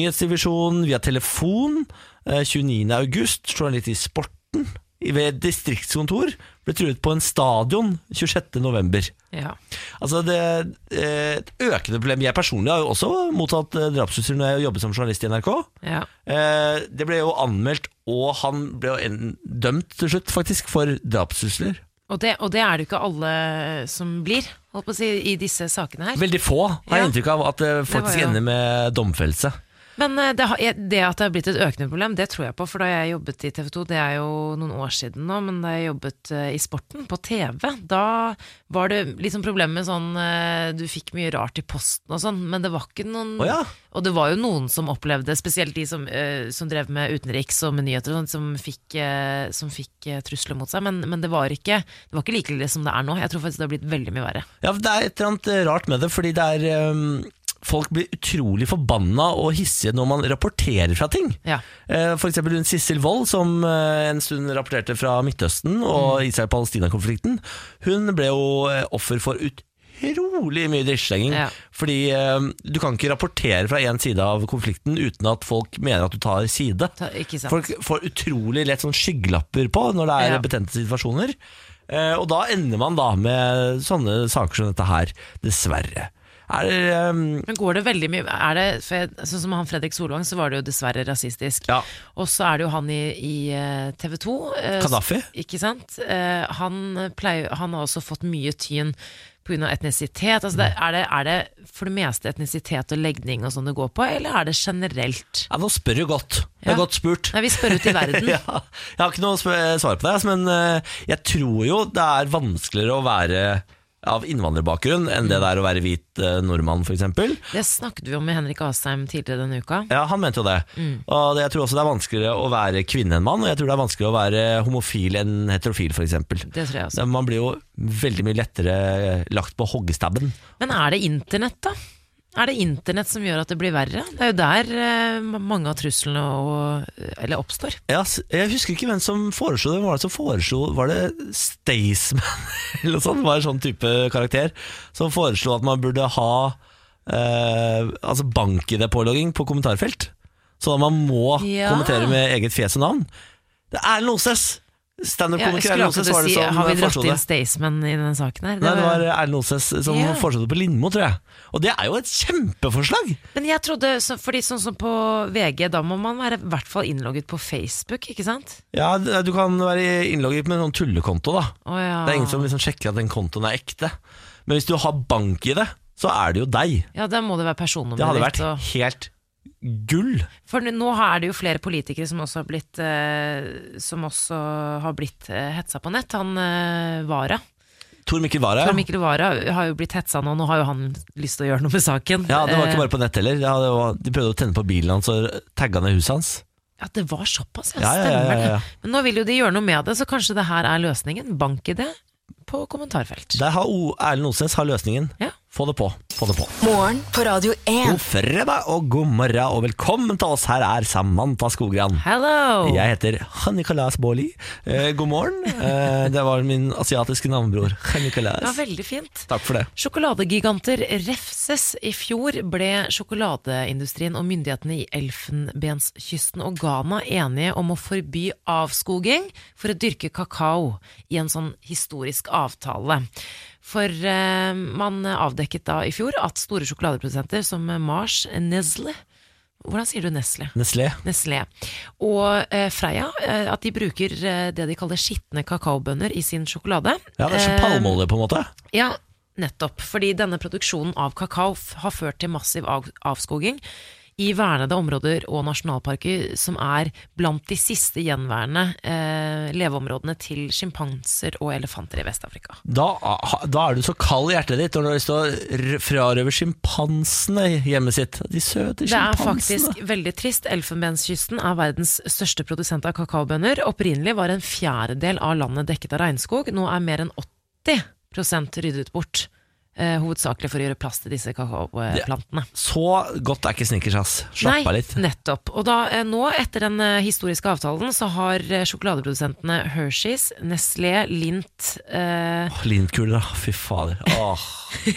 Speaker 1: Nyhetsdivisjonen via telefon eh, 29. august. Journalist i Sporten i- ved distriktskontor ble truet på en stadion 26. november.
Speaker 2: ja.
Speaker 1: Altså det eh, Et økende problem. Jeg personlig har jo også mottatt eh, drapstrusler når jeg jobbet som journalist i NRK.
Speaker 2: Ja.
Speaker 1: Eh, Det ble jo anmeldt, og han ble jo en, dømt til slutt, faktisk, for drapstrusler.
Speaker 2: Og, det, og det er det jo ikke alle som blir, holdt på å si, i disse sakene her.
Speaker 1: Veldig få har jeg
Speaker 2: Ja.
Speaker 1: inntrykk av at det faktisk
Speaker 2: jo-
Speaker 1: ender med domfellelse.
Speaker 2: Men eh, det, har- jeg- det at det har blitt et økende problem, det tror jeg på. For da jeg jobbet i TV 2, det er jo noen år siden nå, men da jeg jobbet eh, i sporten, på TV, da var det liksom problemet med sånn eh, Du fikk mye rart i posten og sånn, men det var ikke noen
Speaker 1: Å ja.
Speaker 2: Og det var jo noen som opplevde, spesielt de som, eh, som drev med utenriks og med nyheter og sånt, som fikk, eh, som fikk eh, trusler mot seg, men, men det var ikke Det var ikke like ille som det er nå. Jeg tror faktisk det har blitt veldig mye verre.
Speaker 1: Ja, for Det er et eller annet eh, rart med det, fordi det er ehm, Folk blir utrolig forbanna og hissige når man rapporterer fra ting.
Speaker 2: Ja.
Speaker 1: Eh, For eksempel hun Sissel Wold, som eh, en stund rapporterte fra Midtøsten
Speaker 2: Mm.
Speaker 1: og Israel-Palestina-konflikten. Hun ble jo eh, offer for utrolig mye drittslenging.
Speaker 2: Ja.
Speaker 1: Fordi eh, du kan ikke rapportere fra én side av konflikten uten at folk mener at du tar side.
Speaker 2: Ta- Ikke sant?
Speaker 1: Folk får utrolig lett sånn skyggelapper på når det er
Speaker 2: Ja.
Speaker 1: betente situasjoner. Eh, og da ender man da med sånne saker som dette her, dessverre. Er det ehm,
Speaker 2: Men går det veldig mye er det, for jeg, Sånn som han Fredrik Solvang, så var det jo dessverre rasistisk.
Speaker 1: Ja.
Speaker 2: Og så er det jo han i, i eh, TV 2.
Speaker 1: Gaddafi?
Speaker 2: Ikke sant? Eh, Han, pleier, han har også fått mye tyn pga. etnisitet. Altså det, er, det, er det for det meste etnisitet og legning og sånn det går på, eller er det generelt?
Speaker 1: ja, Nå spør du godt. Det
Speaker 2: Ja.
Speaker 1: er godt spurt.
Speaker 2: Nei, vi spør ut i
Speaker 1: [LAUGHS]
Speaker 2: verden.
Speaker 1: ja, jeg har ikke noe sp- svar på det, altså, men eh, jeg tror jo det er vanskeligere å være av innvandrerbakgrunn enn
Speaker 2: Mm.
Speaker 1: det det er å være hvit eh, nordmann, f.eks.
Speaker 2: Det snakket vi om med Henrik Asheim tidligere denne uka.
Speaker 1: Ja, han mente jo det.
Speaker 2: Mm.
Speaker 1: Og det- jeg tror også det er vanskeligere å være kvinne enn mann, og jeg tror det er vanskeligere å være homofil enn heterofil, f.eks.
Speaker 2: Det tror jeg også.
Speaker 1: Så Man blir jo veldig mye lettere eh, lagt på hoggestabben.
Speaker 2: Men er det internett, da? Er det internett som gjør at det blir verre? Det er jo der eh, mange av truslene og, eh, eller oppstår.
Speaker 1: Ja, s- Jeg husker ikke hvem som foreslo det. Hvem var det som foreslo Var det Staysman [LAUGHS] eller noe sånt? Var en sånn type karakter som foreslo at man burde ha eh, altså bank-ID-pålogging på kommentarfelt. Sånn at man må
Speaker 2: Ja.
Speaker 1: kommentere med eget fjes og navn. Det er Erlend Oses!
Speaker 2: Ja, jeg
Speaker 1: Standup-komiker
Speaker 2: skulle
Speaker 1: Erlend
Speaker 2: akkurat
Speaker 1: Oses var det
Speaker 2: si,
Speaker 1: som
Speaker 2: har vi dratt
Speaker 1: foreslo det.
Speaker 2: inn Staysman i den saken her?
Speaker 1: sånn
Speaker 2: Det
Speaker 1: Nei, det var
Speaker 2: var-
Speaker 1: eh, Erlend Oses som
Speaker 2: Ja.
Speaker 1: foreslo det på Lindmo, tror jeg. Og det er jo et kjempeforslag!
Speaker 2: Men jeg trodde, så, fordi sånn som på VG, da må man være i hvert fall innlogget på Facebook, ikke sant?
Speaker 1: Ja, d- du kan være innlogget med en sånn tullekonto da
Speaker 2: Å ja.
Speaker 1: Det er ingen som liksom sjekker at den kontoen er ekte Men hvis du har bank i det, så er det jo deg
Speaker 2: Ja, da må det være personnummeret
Speaker 1: Det hadde
Speaker 2: ditt,
Speaker 1: vært
Speaker 2: og-
Speaker 1: helt gull
Speaker 2: For nå er det jo flere politikere som også har blitt, eh, som også har blitt eh, hetsa på nett. Han eh, Vara,
Speaker 1: Tor Mikkel Vara
Speaker 2: Tor Mikkel Vara, har jo blitt hetsa nå. Nå har jo han lyst til å gjøre noe med saken.
Speaker 1: Ja, det var
Speaker 2: Eh,
Speaker 1: ikke bare på nett heller Ja, det var, De prøvde å tenne på bilen hans og tagga ned huset hans
Speaker 2: Eh, Ja, det var såpass, ja.
Speaker 1: Ja, ja, ja, ja,
Speaker 2: Stemmer det.
Speaker 1: ja.
Speaker 2: Men nå vil jo de gjøre noe med det, så kanskje det her er løsningen. Bank i det på kommentarfelt.
Speaker 1: Der har O- Erlend Osnes har løsningen
Speaker 2: Ja.
Speaker 1: Få det på, få det på
Speaker 4: Morgen på Radio 1.
Speaker 1: God fredag og god morgen og velkommen til oss Her er Samantha Skogran
Speaker 2: Hello!
Speaker 1: Jeg heter Hanikalas Båli. Eh, god morgen. Eh, det var min asiatiske navnebror.
Speaker 2: Det var
Speaker 1: Hanikalas.
Speaker 2: veldig fint.
Speaker 1: Takk for det.
Speaker 2: Sjokoladegiganter refses. I fjor ble sjokoladeindustrien og myndighetene i Elfenbenskysten og Ghana enige om å forby avskoging for å dyrke kakao i en sånn historisk avtale. For eh, man avdekket da i fjor at store sjokoladeprodusenter som Mars, Nestle Hvordan sier du Nestle?
Speaker 1: Nestlé.
Speaker 2: Nestlé. Og eh, Freia, eh, at de bruker eh, det de kaller skitne kakaobønner i sin sjokolade.
Speaker 1: Ja, det er som
Speaker 2: Eh,
Speaker 1: palmeolje, på en måte.
Speaker 2: ja, nettopp. Fordi denne produksjonen av kakao f- har ført til massiv av avskoging i vernede områder og nasjonalparker som er blant de siste gjenværende eh, leveområdene til sjimpanser og elefanter i Vest-Afrika.
Speaker 1: Da, da er du så kald i hjertet ditt når du har lyst til å r- frarøve sjimpansene hjemmet sitt. De søte
Speaker 2: Det er
Speaker 1: sjimpansene.
Speaker 2: faktisk veldig trist. Elfenbenskysten er verdens største produsent av kakaobønner. Opprinnelig var en fjerdedel av landet dekket av regnskog. Nå er mer enn 80 ryddet bort. Eh, hovedsakelig for å gjøre plass til disse kakaoplantene.
Speaker 1: Så godt er ikke snickers, ass.
Speaker 2: Nei,
Speaker 1: Slapp av litt.
Speaker 2: nettopp. Og da, eh, nå, etter den eh, historiske avtalen, så har eh, sjokoladeprodusentene Hershey's, Nestlé, Lint eh,
Speaker 1: Åh, Lintkuler, da. Fy
Speaker 2: [LAUGHS]
Speaker 1: fader. Åh,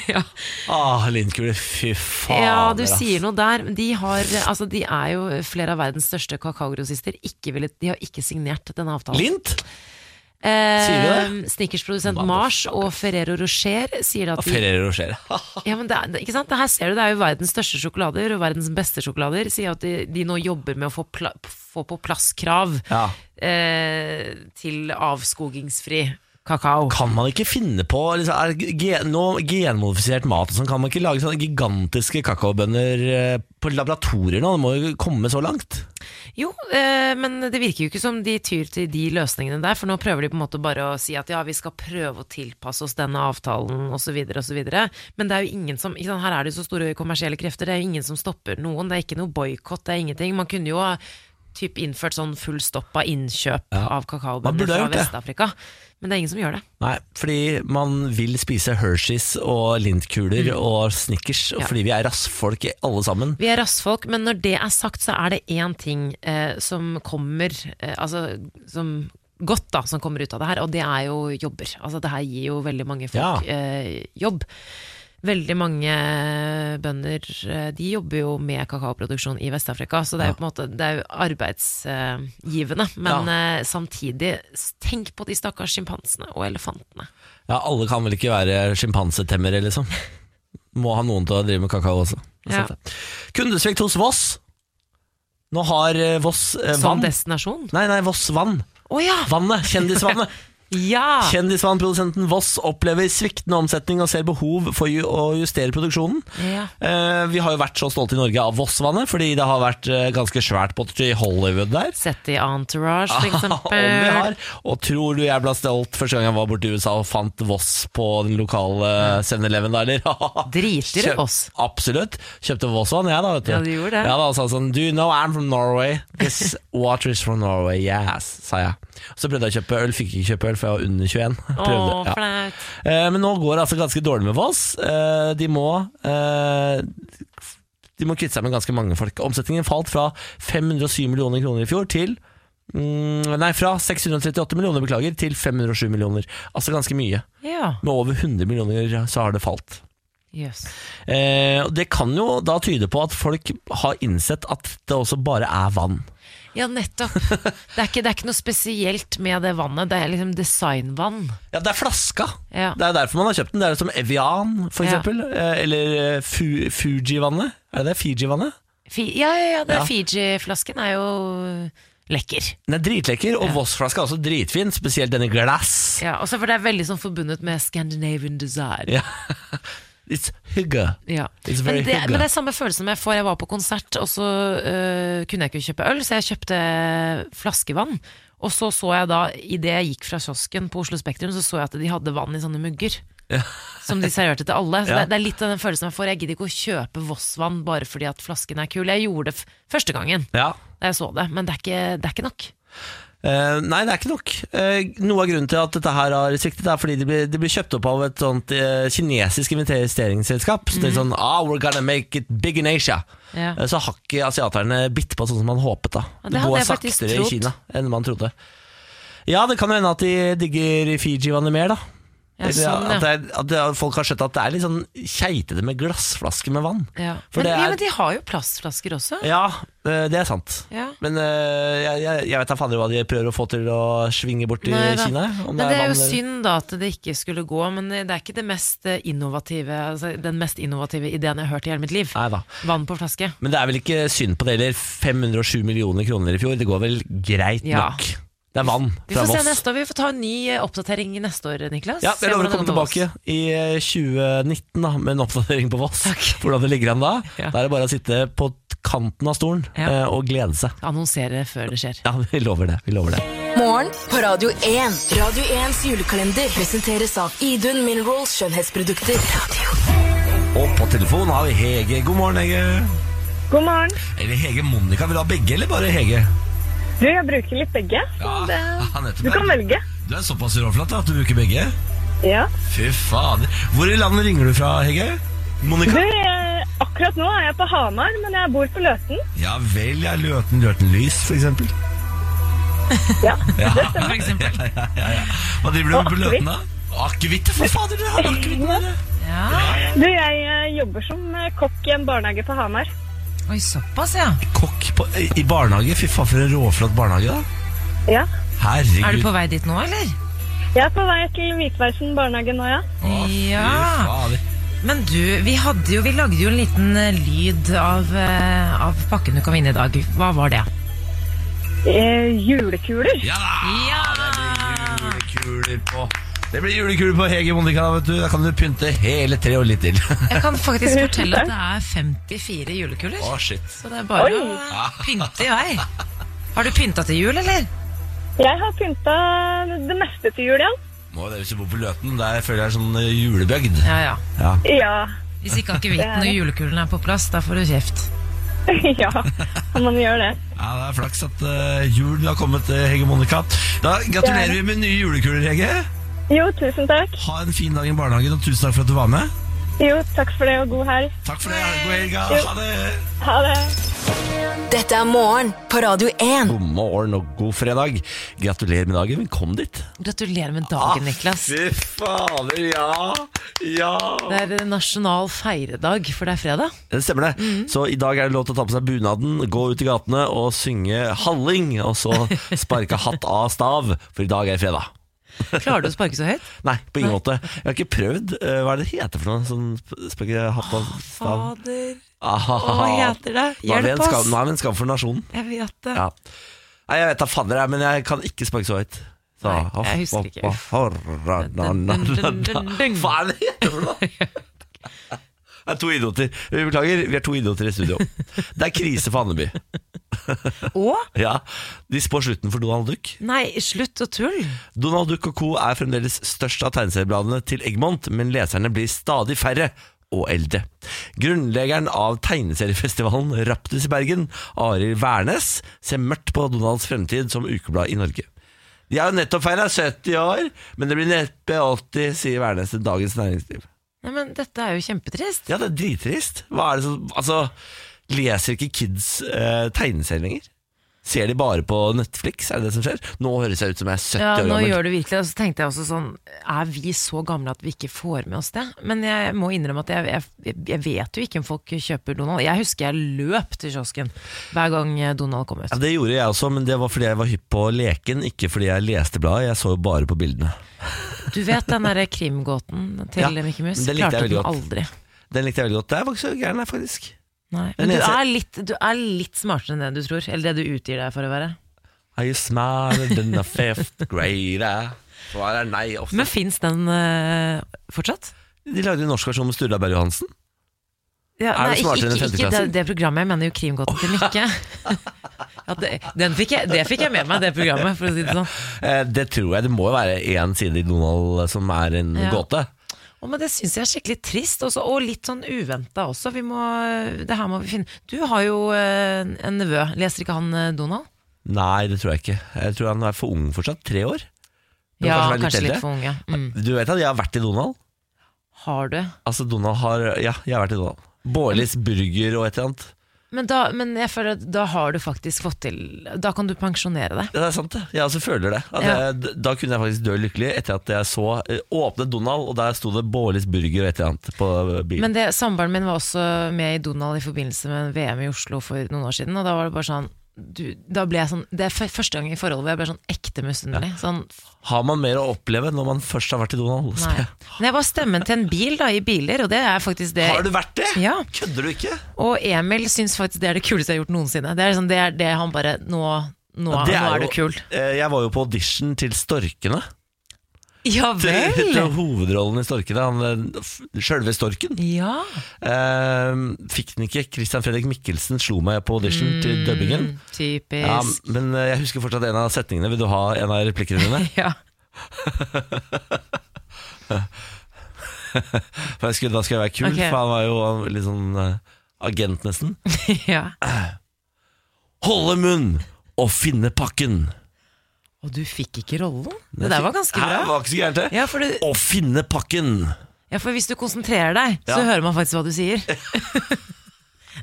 Speaker 2: ja.
Speaker 1: Åh, lintkuler. Fy fader.
Speaker 2: ja, du
Speaker 1: ass.
Speaker 2: sier noe der. De, har, eh, altså, de er jo flere av verdens største kakaogrossister. Ikke villet, de har ikke signert denne avtalen.
Speaker 1: Lint?
Speaker 2: Eh,
Speaker 1: Sier
Speaker 2: Snickersprodusent Mars og Ferrero Rocher sier at
Speaker 1: Og
Speaker 2: de,
Speaker 1: Ferrero Rocher.
Speaker 2: [LAUGHS] ja, men det er, ikke sant? Det her ser du, det er jo verdens største sjokolader og verdens beste sjokolader. Sier at de, de nå jobber med å få, pla, få på plass krav
Speaker 1: Ja.
Speaker 2: eh, til avskogingsfri kakao.
Speaker 1: Kan man ikke finne på liksom, er gen, nå, genmodifisert mat og sånn, Kan man ikke lage sånne gigantiske kakaobønner eh, på laboratorier nå? Det må jo komme så langt.
Speaker 2: Jo, eh, men det virker jo ikke som de tyr til de løsningene der, for nå prøver de på en måte bare å si at ja, vi skal prøve å tilpasse oss denne avtalen osv. osv. Men det er jo ingen som ikke sant, Her er det jo så store kommersielle krefter, det er jo ingen som stopper noen. Det er ikke noe boikott, det er ingenting. Man kunne jo ha typ innført sånn full stopp av innkjøp av
Speaker 1: Man burde
Speaker 2: kakaobønner
Speaker 1: ha
Speaker 2: fra
Speaker 1: gjort det.
Speaker 2: Vest-Afrika. Men det er ingen som gjør det.
Speaker 1: Nei, fordi man vil spise Hershey's og lintkuler og Snickers, og
Speaker 2: Mm. Ja.
Speaker 1: fordi vi er rassfolk i alle sammen.
Speaker 2: Vi er rassfolk, men når det er sagt, så er det én ting eh, som kommer eh, Altså som godt, da, som kommer ut av det her, og det er jo jobber. Altså det her gir jo veldig mange
Speaker 1: Ja.
Speaker 2: folk eh, jobb. Veldig mange bønder eh, de jobber jo med kakaoproduksjon i Vest-Afrika, så det er jo på en måte det er jo arbeidsgivende. Men eh, samtidig, s- tenk på de stakkars sjimpansene og elefantene.
Speaker 1: Ja, alle kan vel ikke være sjimpansetemmere, liksom. Må ha noen til å drive med kakao også. Det er
Speaker 2: Ja.
Speaker 1: sant det. Kundesvikt hos Voss. Nå har eh, Voss eh,
Speaker 2: Som
Speaker 1: vann.
Speaker 2: destinasjon.
Speaker 1: Nei, nei, Voss vann.
Speaker 2: Å ja!
Speaker 1: Vannet, kjendisvannet.
Speaker 2: [LAUGHS] Ja!
Speaker 1: Kjendisvannprodusenten Voss opplever sviktende omsetning og ser behov for ju- å justere produksjonen.
Speaker 2: Ja.
Speaker 1: Eh, Vi har jo vært så stolte i Norge av Vossvannet, fordi det har vært eh, ganske svært på i Hollywood der.
Speaker 2: Sett i
Speaker 1: [LAUGHS]
Speaker 2: Entourage,
Speaker 1: Om
Speaker 2: for
Speaker 1: vi har.
Speaker 2: eksempel.
Speaker 1: Og tror du jeg ble stolt første gang jeg var borte i USA og fant Voss på den lokale 7-Eleven da, eller? [LAUGHS]
Speaker 2: Driter i
Speaker 1: Kjøp-
Speaker 2: oss.
Speaker 1: Absolutt. Kjøpte Vossvann, jeg da, vet du.
Speaker 2: Ja, du gjorde det.
Speaker 1: Ja, da sa sånn Do you know I'm from Norway?
Speaker 2: [LAUGHS]
Speaker 1: This water is from Norway, yes, sa jeg. Så prøvde jeg å kjøpe øl, fikk ikke kjøpe øl, for jeg var under 21.
Speaker 2: Å,
Speaker 1: [LAUGHS] Prøvde, ja.
Speaker 2: flaut.
Speaker 1: Eh, Men nå går det altså ganske dårlig med Voss. Eh, De må eh, De må kvitte seg med ganske mange folk. Omsetningen falt fra 507 millioner kroner i fjor til mm, Nei, fra 638 millioner, beklager, til 507 millioner. Altså ganske mye.
Speaker 2: Ja.
Speaker 1: Med over 100 millioner så har det falt.
Speaker 2: Jøss.
Speaker 1: Eh, og Det kan jo da tyde på at folk har innsett at det også bare er vann.
Speaker 2: Ja, nettopp. Det er, ikke, det er ikke noe spesielt med det vannet. Det er liksom designvann.
Speaker 1: Ja, det er flaska!
Speaker 2: Ja.
Speaker 1: Det er derfor man har kjøpt den. Det er som Evian, for
Speaker 2: Ja.
Speaker 1: eksempel. eh, Eller eh, Fu Fuji-vannet. Er det det? Fiji-vannet?
Speaker 2: Fi, ja, ja, ja,
Speaker 1: Ja.
Speaker 2: det er Fiji-flasken er jo lekker.
Speaker 1: Den er dritlekker, og Voss-flaska er også dritfin, spesielt denne glass.
Speaker 2: Ja, også for det er veldig sånn forbundet med Scandinavian design.
Speaker 1: Ja. It's hygge.
Speaker 2: Ja.
Speaker 1: It's very
Speaker 2: Men, det,
Speaker 1: hygge.
Speaker 2: men det er samme følelsen jeg får. Jeg var på konsert, og så øh, kunne jeg ikke kjøpe øl, så jeg kjøpte flaskevann. Og så så jeg da, idet jeg gikk fra kiosken på Oslo Spektrum, så så jeg at de hadde vann i sånne mugger. Som de serverte til alle. Så
Speaker 1: Ja.
Speaker 2: det, det er litt av den følelsen jeg får. Jeg gidder ikke å kjøpe Voss-vann bare fordi at flasken er kul. Jeg gjorde det f første gangen
Speaker 1: Ja.
Speaker 2: da jeg så det, men det er ikke, det er ikke nok.
Speaker 1: Eh, nei, det er ikke nok. Eh, noe av grunnen til at dette her har sviktet, er fordi det blir, det blir kjøpt opp av et sånt eh, kinesisk investeringsselskap. Så det er sånn Ah, we're gonna make it big in Asia.
Speaker 2: Mm. Ja.
Speaker 1: Eh, Så har ikke asiaterne bitt på sånn som man håpet. da
Speaker 2: Ja, det
Speaker 1: Det,
Speaker 2: hadde
Speaker 1: går
Speaker 2: jeg faktisk
Speaker 1: saktere
Speaker 2: trodd.
Speaker 1: i Kina enn man trodde. Ja, det kan jo hende at de digger Fiji-vannet mer, da.
Speaker 2: Ja, sånn,
Speaker 1: Eller
Speaker 2: ja.
Speaker 1: at, det er, at det er, folk har skjønt at det er litt sånn keitete med glassflasker med vann.
Speaker 2: Ja.
Speaker 1: For
Speaker 2: Men,
Speaker 1: det
Speaker 2: ja,
Speaker 1: er-
Speaker 2: men de har jo plastflasker også.
Speaker 1: Ja, eh, det er sant.
Speaker 2: Ja.
Speaker 1: Men eh, jeg, jeg, jeg vet da fader hva de prøver å få til å svinge bort i
Speaker 2: Nei da.
Speaker 1: Kina. om
Speaker 2: Men det er jo
Speaker 1: vann eller-
Speaker 2: synd da at det ikke skulle gå, men det er ikke det mest eh, innovative, altså den mest innovative ideen jeg har hørt i hele mitt liv.
Speaker 1: Nei da.
Speaker 2: Vann på flaske.
Speaker 1: Men det er vel ikke synd på det heller. 507 millioner kroner i fjor, det går vel greit
Speaker 2: Ja.
Speaker 1: nok. Det er vann
Speaker 2: Vi
Speaker 1: fra
Speaker 2: får se
Speaker 1: Voss.
Speaker 2: neste år, vi får ta en ny eh, oppdatering neste år, Niklas.
Speaker 1: Ja,
Speaker 2: Se
Speaker 1: Jeg lover å
Speaker 2: hvordan
Speaker 1: komme
Speaker 2: det går med
Speaker 1: tilbake i eh, 2019 da, med en oppdatering på Voss. Hvordan det ligger an da.
Speaker 2: Ja.
Speaker 1: Da er det bare å sitte på t- kanten av stolen
Speaker 2: Ja.
Speaker 1: eh, og glede seg.
Speaker 2: oss. Annonsere før det skjer.
Speaker 1: Ja, vi lover det. Vi lover det.
Speaker 4: Morgen på Radio 1. Radio 1s julekalender presenteres av Idun Minerals skjønnhetsprodukter.
Speaker 1: Og på telefonen har vi Hege. God morgen, Hege.
Speaker 7: God morgen.
Speaker 1: Eller Hege Monica. Vil du ha begge, eller bare Hege?
Speaker 7: Du, jeg bruker litt begge. så
Speaker 1: Ja,
Speaker 7: det,
Speaker 1: [LAUGHS] ja, nettopp.
Speaker 7: du kan velge.
Speaker 1: Du er såpass råflatt da, at du bruker begge.
Speaker 7: Ja.
Speaker 1: Fy fader. Hvor i landet ringer du fra, Hege?
Speaker 7: Du,
Speaker 1: Monica?
Speaker 7: jeg, akkurat nå er jeg på Hamar, men jeg bor på Løten.
Speaker 1: Ja vel, ja. Løten, Løten Lys, for eksempel.
Speaker 7: [LAUGHS] Ja.
Speaker 2: [LAUGHS]
Speaker 1: det stemmer. For eksempel. Ja, ja, ja, ja. Hva driver du
Speaker 7: Og
Speaker 1: med på
Speaker 7: akevitt.
Speaker 1: Løten, da? Akevitt, ja, for fader! Du har akevitten der, ja.
Speaker 7: Du, jeg eh, jobber som eh, kokk i en barnehage på Hamar.
Speaker 2: Oi, såpass, ja.
Speaker 1: Kokk på, i barnehage? Fy faen, for en råflott barnehage, da.
Speaker 7: Ja.
Speaker 1: Herregud.
Speaker 2: Er du på vei dit nå, eller?
Speaker 7: Jeg er på vei til Hvitveisen barnehage nå, ja.
Speaker 1: Å, fy
Speaker 2: Ja.
Speaker 1: fader.
Speaker 2: Men du, vi, hadde jo, vi lagde jo en liten eh, lyd av, eh, av pakken du kom inn i i dag. Hva var det?
Speaker 7: Eh, julekuler.
Speaker 1: Ja da!
Speaker 2: Ja!
Speaker 1: Det blir julekuler på Det blir julekule på Hege Monica, vet du. Da kan du pynte hele tre og litt til. [LAUGHS]
Speaker 2: Jeg kan faktisk fortelle at det er 54 julekuler.
Speaker 1: Å, shit.
Speaker 2: Så det er bare å pynte i vei. Har du pynta til jul, eller?
Speaker 7: Jeg har pynta det meste til jul, ja.
Speaker 1: Må det hvis du bor på Løten. Der føler jeg er sånn eh, julebygd.
Speaker 2: Ja, ja.
Speaker 1: Ja.
Speaker 7: Ja.
Speaker 2: Hvis ikke akevitten og julekulene er på plass, da får du kjeft.
Speaker 7: [LAUGHS] ja, man gjør det.
Speaker 1: ja, det er flaks at eh, julen har kommet, eh, Hege Monica. Da gratulerer vi med nye julekuler, Hege.
Speaker 7: Jo, tusen takk.
Speaker 1: Ha en fin dag i barnehagen, og tusen takk for at du var med.
Speaker 7: Jo, takk for det, og god helg.
Speaker 1: Takk for det. God helg. ja. Ha det.
Speaker 7: Ha det.
Speaker 4: Dette er morgen på Radio 1.
Speaker 1: God morgen og god fredag. Gratulerer med dagen. Velkommen dit.
Speaker 2: Gratulerer med dagen, Niklas.
Speaker 1: Ah, Fy fader, ja. Ja.
Speaker 2: Det er en nasjonal feiredag, for det er fredag.
Speaker 1: Det stemmer det. Så i dag er det lov til å ta på seg bunaden, gå ut i gatene og synge halling, og så sparke hatt av stav, for i dag er fredag.
Speaker 2: Klarer du å sparke så høyt?
Speaker 1: Nei, på ingen måte. Jeg har ikke prøvd. eh, Hva er det det heter for noe? Sånn sp- sparke hatt av stav?
Speaker 2: [LAUGHS] Fader,
Speaker 1: Ah,
Speaker 2: hva heter det?
Speaker 1: Nå er vi en
Speaker 2: Hjelp
Speaker 1: skam,
Speaker 2: oss!
Speaker 1: nå er vi en skam for nasjonen.
Speaker 2: Jeg vet det.
Speaker 1: Ja. Nei, jeg vet da fader, jeg, men jeg kan ikke sparke så høyt. Så,
Speaker 2: Nei, jeg husker ikke.
Speaker 1: Hva faen er det heter for
Speaker 2: [LAUGHS]
Speaker 1: noe? Det er to idioter. Vi beklager, vi er to idioter i studio. Det er krise for Andeby.
Speaker 2: Og
Speaker 1: Ja, de spår slutten for Donald Duck.
Speaker 2: Nei, slutt å tulle.
Speaker 1: Donald Duck og co. er fremdeles størst av tegneseriebladene til Egmont, men leserne blir stadig færre og eldre. Grunnleggeren av tegneseriefestivalen Raptus i Bergen, Arild Wærnes, ser mørkt på Donalds fremtid som ukeblad i Norge. De har jo nettopp feira 70 år, men det blir neppe 80, sier Wærnes til Dagens Næringsliv.
Speaker 2: Nei, men dette er jo kjempetrist.
Speaker 1: Ja, det er drittrist. Hva er det som Altså, leser ikke kids eh, tegneserier lenger? Ser de bare på Netflix, er det det som skjer? Nå høres jeg ut som jeg er 70
Speaker 2: Ja,
Speaker 1: år
Speaker 2: nå
Speaker 1: gammel.
Speaker 2: gjør du virkelig det. Og så tenkte jeg også sånn Er vi så gamle at vi ikke får med oss det? Men jeg må innrømme at jeg, jeg, jeg vet jo ikke om folk kjøper Donald. Jeg husker jeg løp til kiosken hver gang Donald kom
Speaker 1: Ja,
Speaker 2: ut.
Speaker 1: Det gjorde jeg også, men det var fordi jeg var hypp på leken, ikke fordi jeg leste bladet. Jeg så jo bare på bildene.
Speaker 2: Du vet den derre krimgåten til
Speaker 1: Ja,
Speaker 2: Mikke Mus?
Speaker 1: den likte
Speaker 2: Klarte
Speaker 1: jeg
Speaker 2: den
Speaker 1: veldig godt.
Speaker 2: aldri.
Speaker 1: Den likte jeg veldig godt. Det er faktisk så gæren, her, faktisk.
Speaker 2: Nei.
Speaker 1: Den
Speaker 2: Men du
Speaker 1: leser-
Speaker 2: er, litt, du er litt smartere enn det du tror. Eller det du utgir deg for å være.
Speaker 1: Are you smarter than a fifth grader? Svaret er nei ofte.
Speaker 2: Men fins den eh, fortsatt?
Speaker 1: de lagde en norsk versjon med Sturla Berg Johansen.
Speaker 2: Ja,
Speaker 1: Er du
Speaker 2: ikke-
Speaker 1: smartere enn en
Speaker 2: ikke, ikke det,
Speaker 1: femteklassing?
Speaker 2: det programmet, jeg mener jo Krimgåten til Mikke.
Speaker 1: [LAUGHS]
Speaker 2: ja, det, den fikk jeg, det fikk jeg med meg, det programmet, for å si det sånn.
Speaker 1: Eh, det tror jeg. Det må jo være én side i Donald som er en
Speaker 2: Ja.
Speaker 1: gåte.
Speaker 2: Å, men det syns jeg er skikkelig trist, også, og litt sånn uventa også. Vi må, det her må vi finne Du har jo eh, en nevø, leser ikke han eh, Donald?
Speaker 1: Nei, det tror jeg ikke. Jeg tror han er for ung fortsatt. Tre år. Men
Speaker 2: Ja,
Speaker 1: kanskje han er
Speaker 2: kanskje,
Speaker 1: litt eldre?
Speaker 2: litt for unge. Mm.
Speaker 1: Du vet at jeg har vært i Donald?
Speaker 2: Har du?
Speaker 1: Altså, Donald har Ja, jeg har vært i Donald. Bårlis burger og et eller annet.
Speaker 2: Men, da, men jeg føler at da har du faktisk fått til Da kan du pensjonere deg.
Speaker 1: Ja, det er sant det. Jeg også føler det. At
Speaker 2: Ja.
Speaker 1: jeg, d- da kunne jeg faktisk dø lykkelig etter at jeg så eh, åpne Donald, og der sto det Bårlis burger og et eller annet på eh, bilen.
Speaker 2: Men det, samboeren min var også med i Donald i forbindelse med VM i Oslo for noen år siden, og da var det bare sånn du, da ble jeg sånn, Det er f første gang i forholdet hvor jeg ble sånn ekte misunnelig. Sånn,
Speaker 1: Har man mer å oppleve når man først har vært i Donald?
Speaker 2: nei. Men jeg var stemmen til en bil da, i biler, og det er faktisk det
Speaker 1: Har du vært det?
Speaker 2: Ja.
Speaker 1: Kødder du ikke?
Speaker 2: Og Emil syns faktisk det er det kuleste jeg har gjort noensinne. Det er liksom det, er det han bare Nå, nå,
Speaker 1: Det
Speaker 2: nå
Speaker 1: jo-
Speaker 2: er du kul.
Speaker 1: eh, Jeg var jo på audition til Storkene.
Speaker 2: Ja
Speaker 1: Til,
Speaker 2: vel!
Speaker 1: [LAUGHS] til hovedrollen i Storkene. Han, eh, f- Sjølve Storken.
Speaker 2: Ja.
Speaker 1: Eh, fikk den ikke. Christian Fredrik Mikkelsen slo meg på audition til dubbingen.
Speaker 2: Mm, Typisk.
Speaker 1: Ja,
Speaker 2: Ja.
Speaker 1: men eh, jeg husker fortsatt en av setningene. Vil du ha en av replikkene dine? For jeg skulle, da skal jeg være kul,
Speaker 2: Ok.
Speaker 1: for han var jo han var litt sånn eh, agent nesten.
Speaker 2: [LAUGHS] ja.
Speaker 1: Holde munn og finne pakken.
Speaker 2: Og du fikk ikke rollen? Det der var ganske
Speaker 1: Her
Speaker 2: bra.
Speaker 1: var ikke så gærent, det.
Speaker 2: Ja, for du,
Speaker 1: Å finne pakken.
Speaker 2: Ja, for hvis du konsentrerer deg, så
Speaker 1: Ja.
Speaker 2: hører man faktisk hva du sier. [LAUGHS]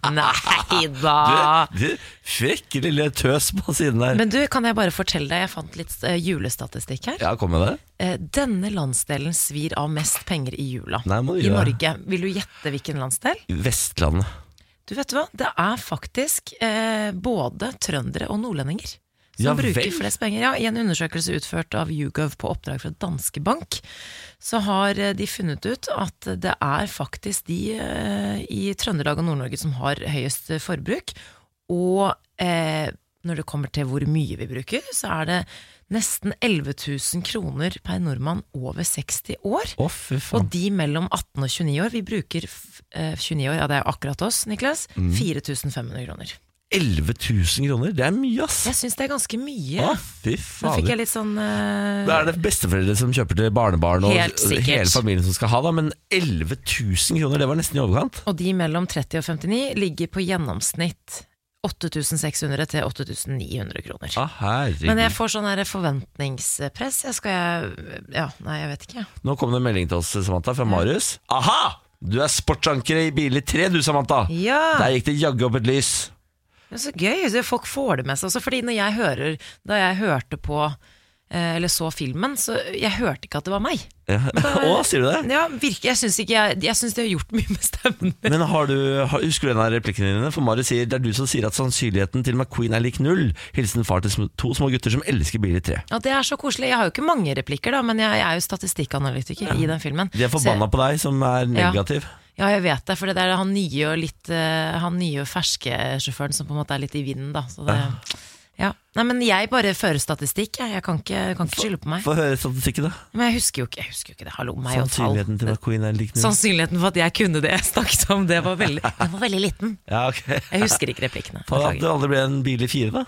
Speaker 2: Nei
Speaker 1: Du,
Speaker 2: da!
Speaker 1: du frekke lille tøs på siden der.
Speaker 2: Ah. Men du, kan jeg bare fortelle deg, jeg fant litt eh, julestatistikk her.
Speaker 1: ja, kom med det.
Speaker 2: Eh, denne landsdelen svir av mest penger i jula.
Speaker 1: Nei, må du
Speaker 2: I
Speaker 1: gjøre det.
Speaker 2: Norge. Vil du gjette hvilken landsdel?
Speaker 1: Vestlandet.
Speaker 2: Du vet du hva, det er faktisk eh, både trøndere og nordlendinger som
Speaker 1: Ja vel.
Speaker 2: bruker flest penger. Ja, I en undersøkelse utført av YouGov på oppdrag fra Danske Bank, så har eh, de funnet ut at det er faktisk de eh, i Trøndelag og Nord-Norge som har høyest eh, forbruk. Og eh, når det kommer til hvor mye vi bruker, så er det nesten 11 000 kroner per nordmann over 60 år.
Speaker 1: Å, fy
Speaker 2: Og
Speaker 1: faen.
Speaker 2: de mellom 18 og 29 år, vi bruker f- eh, 29 år, ja det er jo akkurat oss, Niklas,
Speaker 1: Mm.
Speaker 2: 4500 kroner.
Speaker 1: 11 000 kroner, det er mye, ass.
Speaker 2: Jeg syns det er ganske mye.
Speaker 1: Å, fy
Speaker 2: Nå fikk
Speaker 1: fader.
Speaker 2: jeg litt sånn eh,
Speaker 1: Da er det besteforeldre som kjøper til barnebarn og
Speaker 2: Helt sikkert.
Speaker 1: hele familien som skal ha, da. Men 11 000 kroner, det var nesten i overkant.
Speaker 2: Og de mellom 30 og 59 ligger på gjennomsnitt 8600 til 8900 kroner.
Speaker 1: Å, herregud.
Speaker 2: Men jeg får sånn her forventningspress. Jeg skal Ja, nei, jeg vet ikke.
Speaker 1: Nå kom det en melding til oss, Samantha, fra Marius. Aha! Du er sportsanker i bil i tre, du, Samantha.
Speaker 2: Ja.
Speaker 1: Der gikk det jaggu opp et lys.
Speaker 2: Men så gøy! så Folk får det med seg også. Fordi når jeg hører Da jeg hørte på eh, eller så filmen, så jeg hørte ikke at det var meg.
Speaker 1: Ja. [LAUGHS] Å, sier du det?
Speaker 2: [LAUGHS] Ja, virke, Jeg syns ikke jeg Jeg syns det har gjort mye med stemmen.
Speaker 1: Men har du, har, husker du en av replikkene dine? For Marius sier det er du som sier at sannsynligheten til McQueen er lik null. Hilsen far til sm- to små gutter som elsker bil i tre.
Speaker 2: Ja, det er så koselig. Jeg har jo ikke mange replikker, da, men jeg, jeg er jo statistikkanalytiker i den filmen.
Speaker 1: De er forbanna på deg, som er
Speaker 2: Ja.
Speaker 1: negativ.
Speaker 2: Ja, jeg vet det, for det er han nye og litt eh, Han nye og ferske sjåføren som på en måte er litt i vinden, da. Så det, ja. Nei, men jeg bare fører statistikk, jeg. Jeg kan ikke, kan ikke skylde på meg.
Speaker 1: Få høre statistikken, da.
Speaker 2: Men jeg husker jo ikke, jeg husker jo ikke det. Hallo, meg og tall.
Speaker 1: Sannsynligheten til McQueen er lik null.
Speaker 2: Sannsynligheten for at jeg kunne det jeg snakket om, det var veldig, den var veldig liten.
Speaker 1: Ja, ok.
Speaker 2: Jeg husker ikke replikkene.
Speaker 1: Faen, At det
Speaker 2: Beklager.
Speaker 1: aldri ble en bil i fire, da?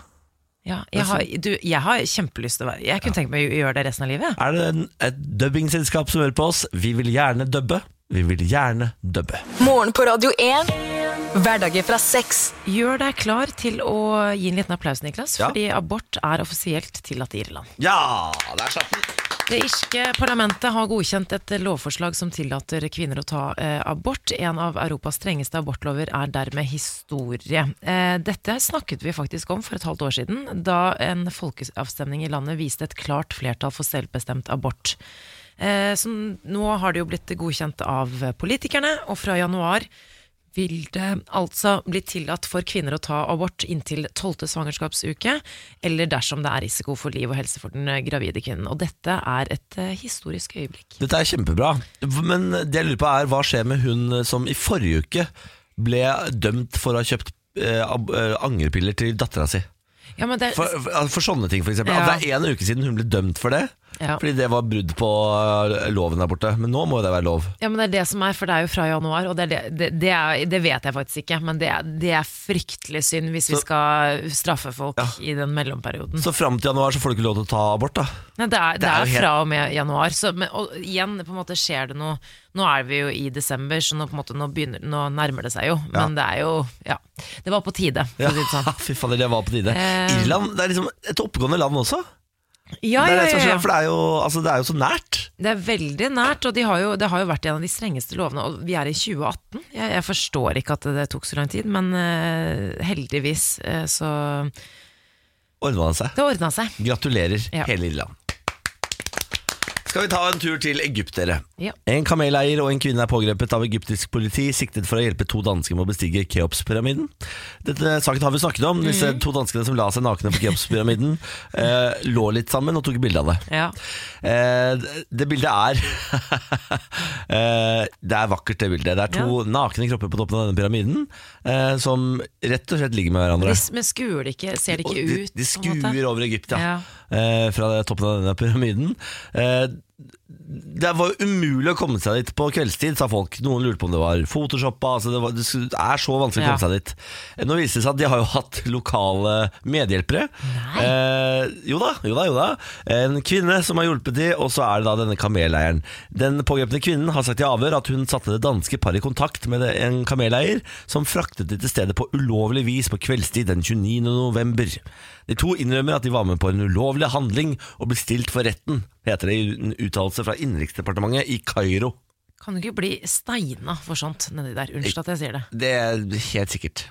Speaker 2: Ja, jeg, har, du, jeg har kjempelyst til å være Jeg kunne tenkt meg å gjøre det resten av livet.
Speaker 1: Er det en, et dubbingselskap som hører på oss? Vi vil gjerne dubbe. Vi vil gjerne dubbe.
Speaker 4: Morgen på Radio 1. Hverdager fra seks.
Speaker 2: Gjør deg klar til å gi en liten applaus, Niklas,
Speaker 1: Ja.
Speaker 2: fordi abort er offisielt tillatt i Irland.
Speaker 1: Ja, der slapp den.
Speaker 2: Det irske parlamentet har godkjent et lovforslag som tillater kvinner å ta eh, abort. En av Europas strengeste abortlover er dermed historie. Eh, dette snakket vi faktisk om for et halvt år siden, da en folkeavstemning i landet viste et klart flertall for selvbestemt abort. Eh, så nå har det jo blitt godkjent av politikerne, og fra januar vil det altså bli tillatt for kvinner å ta abort inntil tolvte svangerskapsuke, eller dersom det er risiko for liv og helse for den eh, gravide kvinnen. Og dette er et eh, historisk øyeblikk.
Speaker 1: Dette er kjempebra. Men det jeg lurer på er, hva skjer med hun som i forrige uke ble dømt for å ha kjøpt eh, ab- eh, angrepiller til dattera si?
Speaker 2: Ja, men det,
Speaker 1: For, for, for sånne ting, f.eks.
Speaker 2: Ja.
Speaker 1: At det er én uke siden hun ble dømt for det.
Speaker 2: Ja.
Speaker 1: Fordi det var brudd på eh, loven der borte. Men nå må jo det være lov.
Speaker 2: ja, men det er det som er, for det er jo fra januar, og det, er det, det, det, er, det vet jeg faktisk ikke, men det, er- det er fryktelig synd hvis vi
Speaker 1: Så-
Speaker 2: skal straffe folk i den mellomperioden.
Speaker 1: Så fram til januar så får du ikke lov til å ta abort, da.
Speaker 2: Nei, det er, det
Speaker 1: er
Speaker 2: er,
Speaker 1: jo helt-
Speaker 2: fra og med januar. Så, men, og igjen, på en måte skjer det noe Nå er vi jo i desember, så nå, på en måte, nå, begynner, nå nærmer det seg jo. Men det er jo Ja. Det var på tide, for å si det sånn.
Speaker 1: [LAUGHS] Fy fader, det var på tide.
Speaker 2: Eh.
Speaker 1: Irland det er liksom et oppegående land også.
Speaker 2: Ja,
Speaker 1: det, er
Speaker 2: ja,
Speaker 1: det, som
Speaker 2: ja,
Speaker 1: skjer,
Speaker 2: ja.
Speaker 1: For det, er jo, altså, det er jo så nært.
Speaker 2: Det er veldig nært, og de har jo, det har jo vært en av de strengeste lovene. Og vi er i 2018. Jeg, jeg forstår ikke at det tok så lang tid, men eh, heldigvis eh, så
Speaker 1: Ordna det seg.
Speaker 2: Det ordna seg.
Speaker 1: Gratulerer,
Speaker 2: Ja.
Speaker 1: hele Irland. Skal vi ta en tur til Egypt, dere?
Speaker 2: Ja.
Speaker 1: En kameleier og en kvinne er pågrepet av egyptisk politi, siktet for å hjelpe to dansker med å bestige Keopspyramiden. Dette saken har vi snakket om. Disse
Speaker 2: Mhm.
Speaker 1: to danskene som la seg nakne på
Speaker 2: [LAUGHS]
Speaker 1: Keopspyramiden, eh, lå litt sammen og tok bilde av det.
Speaker 2: Ja.
Speaker 1: Eh, det bildet er [LAUGHS] eh, Det er vakkert, det bildet. Det er to nakne kropper på toppen av denne pyramiden eh, som rett og slett ligger med hverandre.
Speaker 2: De, men skuer det ikke, ser det
Speaker 1: Og
Speaker 2: ikke
Speaker 1: de,
Speaker 2: ut?
Speaker 1: de
Speaker 2: på en måte?
Speaker 1: skuer over Egypt, ja. Eh, fra toppen av denne pyramiden. Eh, det var jo umulig å komme seg dit på kveldstid, sa folk. Noen lurte på om det var photoshoppa. Altså det, var, det skulle- det er så vanskelig å
Speaker 2: Ja.
Speaker 1: komme seg dit. Eh, Nå viser det seg at de har jo hatt lokale medhjelpere. Eh, jo da, jo da, jo da. En kvinne som har hjulpet de, og så er det da denne kameleieren. Den pågrepne kvinnen har sagt i avhør at hun satte det danske paret i kontakt med det- en kameleier som fraktet de til stedet på ulovlig vis på kveldstid den 29. november. De to innrømmer at de var med på en ulovlig handling og ble stilt for retten, heter det i en uttalelse fra Innenriksdepartementet i Kairo.
Speaker 2: Kan du ikke bli steina for sånt nedi der? Unnskyld at jeg sier det.
Speaker 1: Det er helt sikkert.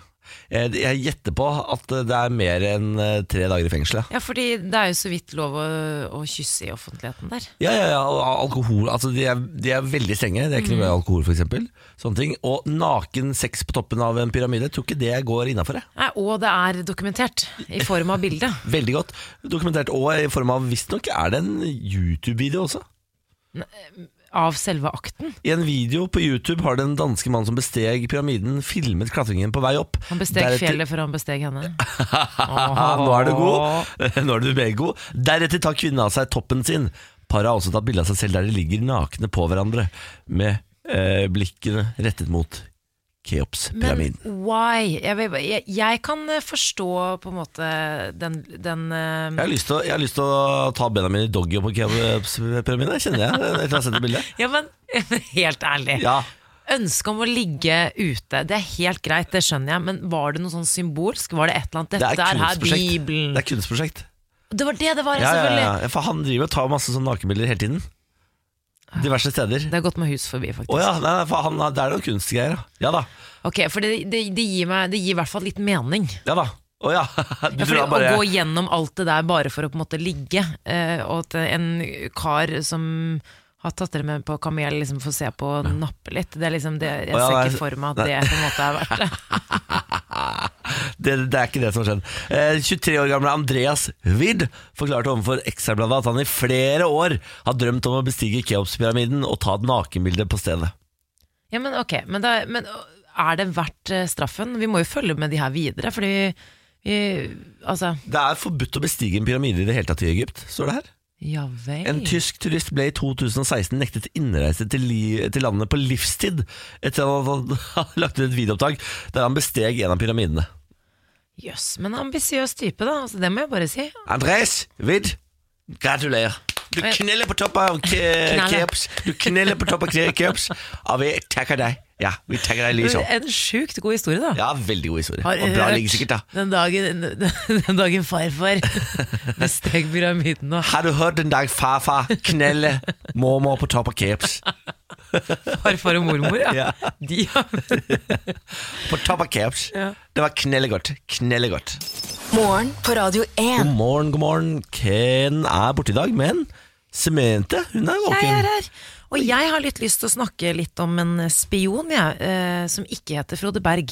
Speaker 1: Eh, Jeg gjetter på at det er mer enn eh, tre dager i fengselet.
Speaker 2: Ja, fordi det er jo så vidt lov å, å kysse i offentligheten der.
Speaker 1: Ja, ja, ja, og alkohol altså de, er, de er veldig strenge, det er ikke noe glad i alkohol for eksempel Sånne ting Og naken sex på toppen av en pyramide Tror ikke det går innenfor det
Speaker 2: Nei, og det er dokumentert i form av bilde.
Speaker 1: Veldig godt dokumentert Og i form av, visstnok er det en YouTube-video også
Speaker 2: av selve akten.
Speaker 1: I en video på YouTube har den danske mannen som besteg pyramiden, filmet klatringen på vei opp.
Speaker 2: Han besteg fjellet før han besteg henne.
Speaker 1: [LAUGHS] Nå er du god. [LAUGHS] Nå er du meget god. Deretter tar kvinnen av seg toppen sin. Paret har også tatt bilde av seg selv der de ligger nakne på hverandre, med eh, blikkene rettet mot
Speaker 2: Men
Speaker 1: Keops-pyramiden.
Speaker 2: why? Jeg, vil bare- jeg, jeg kan eh, forstå på en måte den, den eh,
Speaker 1: Jeg har, lyst til å, jeg har lyst til å ta bena mine i doggy på Keops-pyramiden, det kjenner jeg. Etter å ha sett det bildet.
Speaker 2: Ja, men [LAUGHS] helt ærlig.
Speaker 1: Ja.
Speaker 2: Ønsket om å ligge ute, det er helt greit, det skjønner jeg, men var det noe sånn symbolsk? Var det et eller annet?
Speaker 1: Det er
Speaker 2: Dette er, her
Speaker 1: kunstprosjekt.
Speaker 2: Bibelen.
Speaker 1: Det er kunstprosjekt.
Speaker 2: Det var det det var, ja,
Speaker 1: Ja, ja,
Speaker 2: selvfølgelig.
Speaker 1: ja, ja. For han driver og tar masse sånne nakenbilder hele tiden. Diverse steder.
Speaker 2: Det har gått meg hus forbi, faktisk.
Speaker 1: Å ja, nei, nei, for han, det er noen kunstgreier. da. Ja da.
Speaker 2: Ok, For det, det, det gir meg Det gir i hvert fall litt mening.
Speaker 1: Ja da. Å ja. [LAUGHS] Du
Speaker 2: Ja,
Speaker 1: tror
Speaker 2: fordi,
Speaker 1: han bare
Speaker 2: Å gå gjennom alt det der bare for å på en måte ligge, eh, og at en kar som har tatt dere med på kamel liksom får se på og nappe litt, det er liksom det, jeg
Speaker 1: Å ja,
Speaker 2: ser
Speaker 1: nei,
Speaker 2: ikke for meg at det på en måte er verdt
Speaker 1: [LAUGHS]
Speaker 2: det.
Speaker 1: det, det er ikke det som har skjedd. Eh, 23 år gamle Andreas Wied forklarte overfor Ekstrabladet at han i flere år har drømt om å bestige Keops-pyramiden og ta et nakenbilde på stedet.
Speaker 2: Ja, men ok, men, da, men er det verdt eh, straffen? Vi må jo følge med de her videre, fordi vi, Altså,
Speaker 1: Det er forbudt å bestige en pyramide i det hele tatt i Egypt, står det her.
Speaker 2: ja vel.
Speaker 1: En tysk turist ble i 2016 nektet innreise til, li til landet på livstid etter at han hadde [LAUGHS] lagt ut et videoopptak der han besteg en av pyramidene.
Speaker 2: Jøss, men ambisiøs type, da. Altså, det må jeg bare si.
Speaker 1: Andres Wied, gratulerer. Du kneller på toppen av Ke-
Speaker 2: Knaller.
Speaker 1: Keops. Du kneller på toppen av Ke- Keops, og vi takker deg. Ja, vi takker deg liksom.
Speaker 2: En sjukt god historie, da.
Speaker 1: Ja, veldig god historie.
Speaker 2: Har
Speaker 1: Og bra
Speaker 2: hørt
Speaker 1: ligge sikkert, da.
Speaker 2: Den dagen, den dagen
Speaker 1: [LAUGHS]
Speaker 2: farfar besteg pyramiden og
Speaker 1: Har du hørt den dag farfar knelle mormor på toppen av Keops?
Speaker 2: farfar og mormor, ja.
Speaker 1: Ja.
Speaker 2: De har
Speaker 1: På toppen av Keops.
Speaker 2: Ja.
Speaker 1: Det var knellegodt. Knellegodt.
Speaker 4: Morgen på Radio 1.
Speaker 1: God morgen, god morgen. Ken er borte i dag, men Semente, hun er
Speaker 2: Jeg er
Speaker 1: våken.
Speaker 2: her. Og jeg har litt lyst til å snakke litt om en spion, jeg, eh, som ikke heter Frode Berg.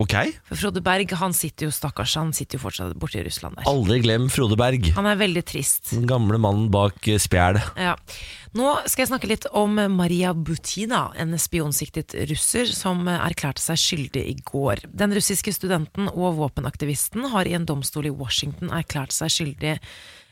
Speaker 1: Ok.
Speaker 2: For Frode Berg, han sitter jo, stakkars, han sitter jo fortsatt borte i Russland der.
Speaker 1: Aldri glem Frode Berg.
Speaker 2: Han er veldig trist.
Speaker 1: Den gamle mannen bak eh, spjælet.
Speaker 2: Ja. Nå skal jeg snakke litt om Maria Butina, en spionsiktet russer som erklærte seg skyldig i går. Den russiske studenten og våpenaktivisten har i en domstol i Washington erklært seg skyldig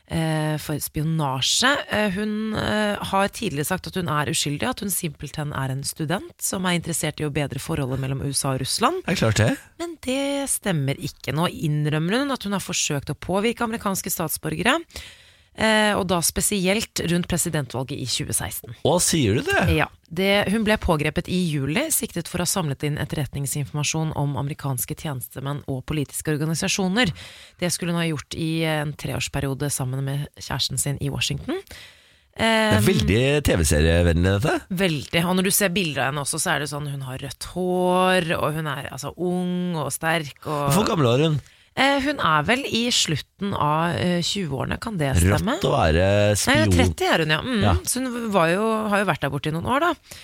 Speaker 2: eh, for spionasje. Eh, Hun eh, har tidligere sagt at hun er uskyldig, at hun simpelthen er en student som er interessert i å bedre forholdet mellom USA og Russland.
Speaker 1: Er klart det?
Speaker 2: Men det stemmer ikke. Nå innrømmer hun at hun har forsøkt å påvirke amerikanske statsborgere, eh, og da spesielt rundt presidentvalget i 2016.
Speaker 1: Å, sier du det?
Speaker 2: Ja, det, Hun ble pågrepet i juli, siktet for å ha samlet inn etterretningsinformasjon om amerikanske tjenestemenn og politiske organisasjoner. Det skulle hun ha gjort i en treårsperiode sammen med kjæresten sin i Washington. Eh,
Speaker 1: Det er veldig TV-serievennlig, dette.
Speaker 2: Veldig. Og når du ser bilder av henne også, så er det sånn hun har rødt hår, og hun er altså ung og sterk. Og
Speaker 1: Hvor gammel var hun?
Speaker 2: Eh, hun er vel i slutten av eh, 20-årene, kan det stemme?
Speaker 1: Rått å være
Speaker 2: Nei,
Speaker 1: spion.
Speaker 2: 30 er hun, ja. Mm.
Speaker 1: Ja.
Speaker 2: Så hun var jo, har jo vært der borte i noen år, da.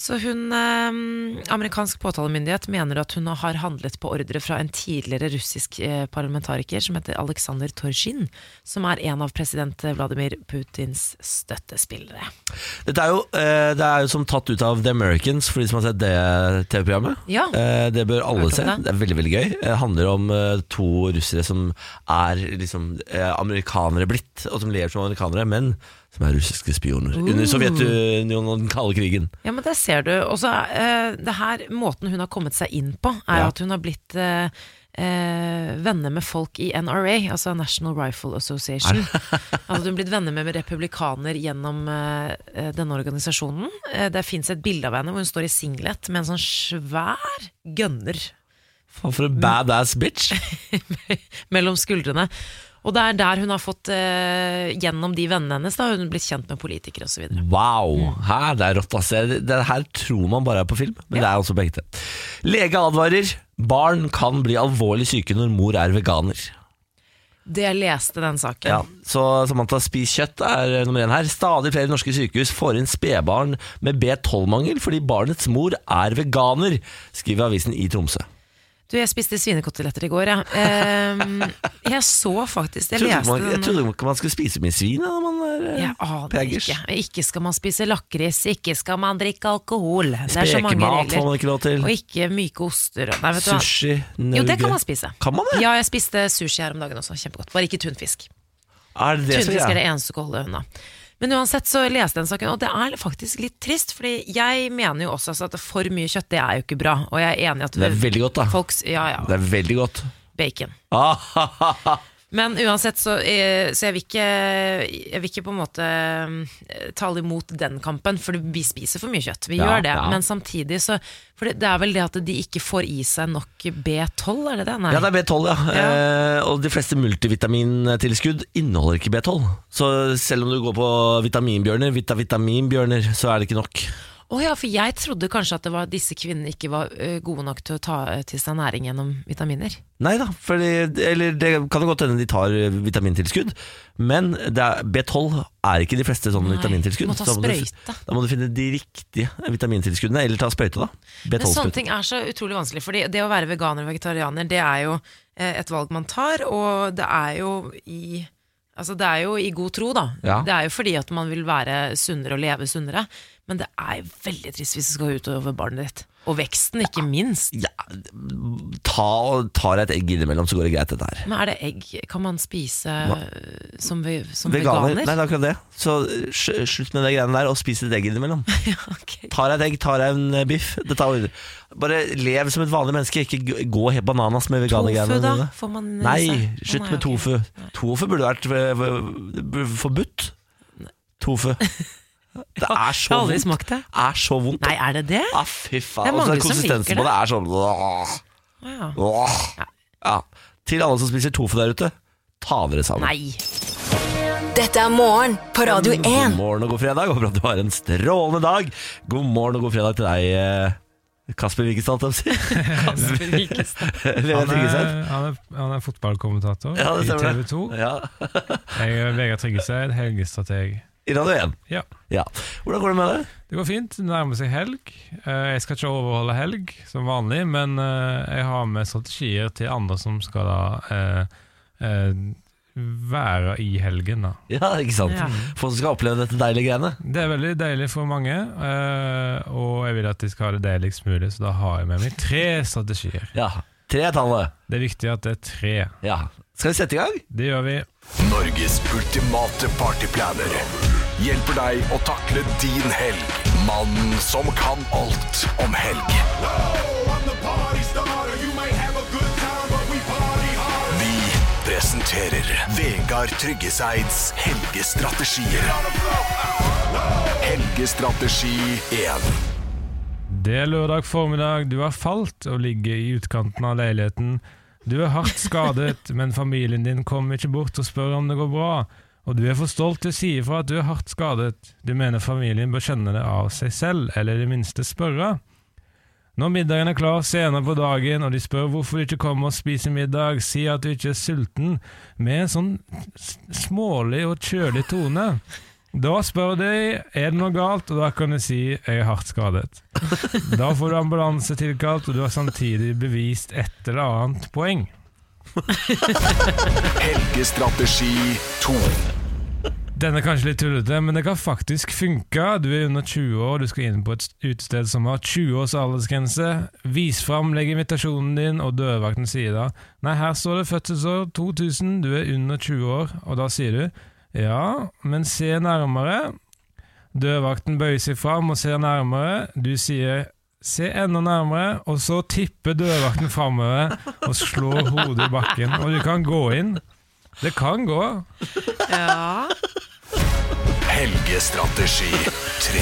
Speaker 2: Så hun eh, Amerikansk påtalemyndighet mener at hun har handlet på ordre fra en tidligere russisk eh, parlamentariker som heter Aleksandr Torsjin, som er en av president Vladimir Putins støttespillere.
Speaker 1: Dette er jo, eh, det er jo som tatt ut av The Americans, for de som har sett det TV-programmet.
Speaker 2: Ja.
Speaker 1: Eh, det bør alle
Speaker 2: Hørt om
Speaker 1: se.
Speaker 2: det.
Speaker 1: Det er veldig veldig gøy. Det handler om eh, to russere som er liksom eh, amerikanere blitt, og som lever som amerikanere, men som er russiske spioner.
Speaker 2: Uh.
Speaker 1: Under Sovjetunionen og den kalde krigen.
Speaker 2: Ja, men der ser du. Og så eh, det her, måten hun har kommet seg inn på, er
Speaker 1: Ja.
Speaker 2: at hun har blitt eh, eh, venner med folk i NRA, altså National Rifle
Speaker 1: [LAUGHS]
Speaker 2: Association. altså hun har blitt venner med, med republikaner gjennom eh, eh, denne organisasjonen. Eh, der fins et bilde av henne hvor hun står i singlet med en sånn svær gønner [LAUGHS]
Speaker 1: Faen, for en badass bitch!
Speaker 2: mellom skuldrene. Og det er der hun har fått, eh, gjennom de vennene hennes, da har hun blitt kjent med politikere osv.
Speaker 1: Wow, Hæ, det er rått ass. Det, det her tror man bare er på film, men det er også på ekte. Lege advarer barn kan bli alvorlig syke når mor er veganer.
Speaker 2: Det jeg leste den saken.
Speaker 1: Ja, så Samantha, spis kjøtt er nummer én her. Stadig flere norske sykehus får inn spedbarn med B12-mangel fordi barnets mor er veganer, skriver avisen i Tromsø.
Speaker 2: Du, jeg spiste svinekoteletter i går, jeg. Ehm, jeg så faktisk Jeg
Speaker 1: Jeg trodde,
Speaker 2: leste
Speaker 1: man, jeg
Speaker 2: den
Speaker 1: trodde ikke man skulle spise mye svin ja, når man er eh,
Speaker 2: jeg aner
Speaker 1: pegers.
Speaker 2: ikke. Ikke skal man spise lakris, ikke skal man drikke alkohol. Det er så mange
Speaker 1: Spekemat får man
Speaker 2: regler.
Speaker 1: ikke lov til.
Speaker 2: Og ikke myke oster. og- Nei, vet du hva.
Speaker 1: Sushi,
Speaker 2: Jo, det
Speaker 1: nauge.
Speaker 2: kan man spise.
Speaker 1: Kan man det?
Speaker 2: Ja, jeg spiste sushi her om dagen også. Kjempegodt. Bare ikke tunfisk.
Speaker 1: Er det det som
Speaker 2: Tunfisk er
Speaker 1: er
Speaker 2: det eneste du kan holde unna. Men uansett så leste jeg den saken, og det er faktisk litt trist. Fordi jeg mener jo også altså, at for mye kjøtt, det er jo ikke bra. Og jeg er enig i at
Speaker 1: Det er veldig godt, da.
Speaker 2: folks Ja, ja.
Speaker 1: Det er veldig godt.
Speaker 2: Bacon.
Speaker 1: Ah, ha, ha, ha.
Speaker 2: Men uansett, så, eh, så jeg, vil ikke, jeg vil ikke på en måte eh, tale imot den kampen, for vi spiser for mye kjøtt. Vi
Speaker 1: Ja,
Speaker 2: gjør det.
Speaker 1: ja.
Speaker 2: Men samtidig så For det, det er vel det at de ikke får i seg nok B12, er det det? Nei.
Speaker 1: Ja, det er B12, ja.
Speaker 2: Ja.
Speaker 1: Eh, og de fleste multivitamintilskudd inneholder ikke B12. Så selv om du går på vitaminbjørner, vita vitaminbjørner, så er det ikke nok.
Speaker 2: Å ja, for jeg trodde kanskje at det var disse kvinnene ikke var eh, gode nok til å ta eh, til seg næring gjennom vitaminer.
Speaker 1: Nei da, for det, eller det kan jo godt hende de tar eh, vitamintilskudd, men det er, B12 er ikke de fleste sånne
Speaker 2: Nei,
Speaker 1: vitamintilskudd.
Speaker 2: du må ta
Speaker 1: Så da du-
Speaker 2: sprøyte.
Speaker 1: Da må du finne de riktige vitamintilskuddene, eller ta sprøyte, da.
Speaker 2: Men sånne
Speaker 1: B12-sprøyte.
Speaker 2: ting er så utrolig vanskelig, fordi det å være veganer og vegetarianer, det er jo eh, et valg man tar, og det er jo i Altså det er jo i god tro, da.
Speaker 1: Ja.
Speaker 2: Det er jo fordi at man vil være sunnere og leve sunnere. Men det er veldig trist hvis det skal gå utover barnet ditt. Og veksten, ikke minst.
Speaker 1: Ja, ta og tar deg et egg innimellom, så går det greit, dette her.
Speaker 2: Men er det egg Kan man spise eh, som, ve som
Speaker 1: Veganer?
Speaker 2: veganer?
Speaker 1: Nei, det er akkurat det. Så sj- slutt med de greiene der, og spis et egg innimellom.
Speaker 2: [LAUGHS] ja, ok.
Speaker 1: Tar deg et egg, tar deg en eh, biff. Det tar ordet. Bare lev som et vanlig menneske, ikke g- gå helt bananas med
Speaker 2: Tofu,
Speaker 1: veganergreiene
Speaker 2: da?
Speaker 1: dine.
Speaker 2: Får man i seg?
Speaker 1: Nei,
Speaker 2: Å,
Speaker 1: slutt
Speaker 2: nei,
Speaker 1: med
Speaker 2: ok.
Speaker 1: tofu. Tofu burde vært eh, v- b- forbudt. Tofu.
Speaker 2: [LAUGHS]
Speaker 1: Det er
Speaker 2: Jeg
Speaker 1: så
Speaker 2: har aldri
Speaker 1: vondt.
Speaker 2: smakt det.
Speaker 1: Er så vondt.
Speaker 2: Nei, er det det?
Speaker 1: Ah, fy
Speaker 2: Det er
Speaker 1: faen. Og så
Speaker 2: mange
Speaker 1: er
Speaker 2: som liker
Speaker 1: konsistensen på det er sånn åh,
Speaker 2: Wow.
Speaker 1: åh.
Speaker 2: Ja.
Speaker 1: Ja. Til alle som spiser tofu der ute, ta dere sammen.
Speaker 2: Nei.
Speaker 4: Dette er morgen på Radio 1.
Speaker 1: God morgen og god fredag. Håper at du har en strålende dag. God morgen og god fredag til deg, eh, Kasper Wikestad. holdt jeg på å si. Vegard
Speaker 8: [LAUGHS] Han er,
Speaker 1: Tryggeseid.
Speaker 8: han er, han er fotballkommentator
Speaker 1: Ja, det
Speaker 8: i
Speaker 1: stemmer
Speaker 8: TV
Speaker 1: det.
Speaker 8: 2.
Speaker 1: Ja.
Speaker 8: Jeg er Vegard Tryggeseid, helgestrateg.
Speaker 1: I Radio 1.
Speaker 8: Ja.
Speaker 1: Ja. Hvordan går det med deg?
Speaker 8: Det går fint, det nærmer seg helg. Eh, Jeg skal ikke overholde helg som vanlig, men eh, jeg har med strategier til andre som skal da eh, eh, være i helgen. da.
Speaker 1: Ja, ikke sant?
Speaker 2: Ja.
Speaker 1: Folk som skal oppleve dette deilige greiene.
Speaker 8: Det er veldig deilig for mange, eh, og jeg vil at de skal ha det deiligst mulig, så da har jeg med meg tre strategier.
Speaker 1: Ja. Tre tallet.
Speaker 8: Det er viktig at det er tre.
Speaker 1: Ja. Skal vi sette i gang?
Speaker 8: Det gjør vi.
Speaker 9: Norges ultimate partyplaner hjelper deg å takle din helg. Mannen som kan alt om helg. Vi presenterer Vegard Tryggeseids helgestrategier. Helgestrategi 1.
Speaker 8: Det er lørdag formiddag, du har falt og ligger i utkanten av leiligheten. Du er hardt skadet, [LAUGHS] men familien din kommer ikke bort og spør om det går bra. Og du er for stolt til å si ifra at du er hardt skadet. Du mener familien bør kjenne det av seg selv, eller i det minste spørre. Når middagen er klar senere på dagen, og de spør hvorfor du ikke kommer og spiser middag, si at du ikke er sulten, med en sånn s- smålig og kjølig tone. Da spør de er det noe galt, og da kan du si jeg er hardt skadet. Da får du ambulanse tilkalt, og du har samtidig bevist et eller annet poeng.
Speaker 9: Helgestrategi 2.
Speaker 8: Den er kanskje litt tullete, men det kan faktisk funke. Du er under 20 år, du skal inn på et utested som har 20 års aldersgrense. Vis fram legitimasjonen din, og dørvakten sier da Nei, her står det fødselsår 2000, du er under 20 år. Og da sier du Ja, men se nærmere. Dørvakten bøyer seg fram og ser nærmere. Du sier Se enda nærmere, og så tipper dørvakten framover og slår hodet i bakken. Og du kan gå inn. Det kan gå.
Speaker 2: Ja.
Speaker 9: Helgestrategi 3.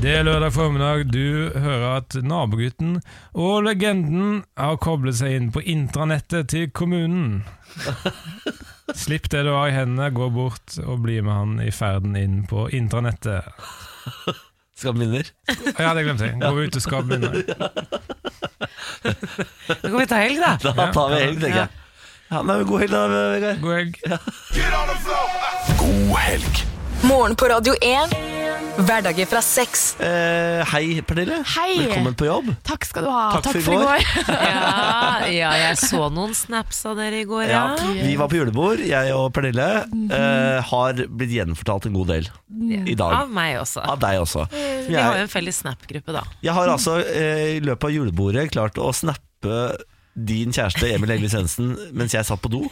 Speaker 8: Det er lørdag formiddag. Du hører at nabogutten og legenden har koblet seg inn på intranettet til kommunen. Slipp det du har i hendene, gå bort og bli med han i ferden inn på intranettet.
Speaker 1: Skal vi minner?
Speaker 8: Ja, det glemte jeg. Gå ut og skap minner.
Speaker 2: Da kan vi ta helg, da.
Speaker 1: Da tar vi helg, tenker jeg. Ja, nei, men God helg, da, Vegard.
Speaker 8: God helg.
Speaker 9: God helg.
Speaker 4: Morgen på Radio 1. Hverdager fra seks.
Speaker 1: Eh, hei, Pernille.
Speaker 3: Hei.
Speaker 1: Velkommen på jobb.
Speaker 3: Takk skal du ha.
Speaker 1: Takk for i går.
Speaker 2: Ja, ja, jeg så noen snaps av dere i går, ja.
Speaker 1: Ja, vi var på julebord, jeg og Pernille. eh, har blitt gjenfortalt en god del i dag.
Speaker 2: Av meg også.
Speaker 1: [LAUGHS] Av deg også.
Speaker 2: Vi Mm. har jo
Speaker 1: Jeg,
Speaker 2: en felles Snap-gruppe,
Speaker 1: [LAUGHS]
Speaker 2: da.
Speaker 1: jeg har altså eh, i løpet av julebordet klart å snappe din kjæreste Emil Egil Svendsen mens jeg satt på do.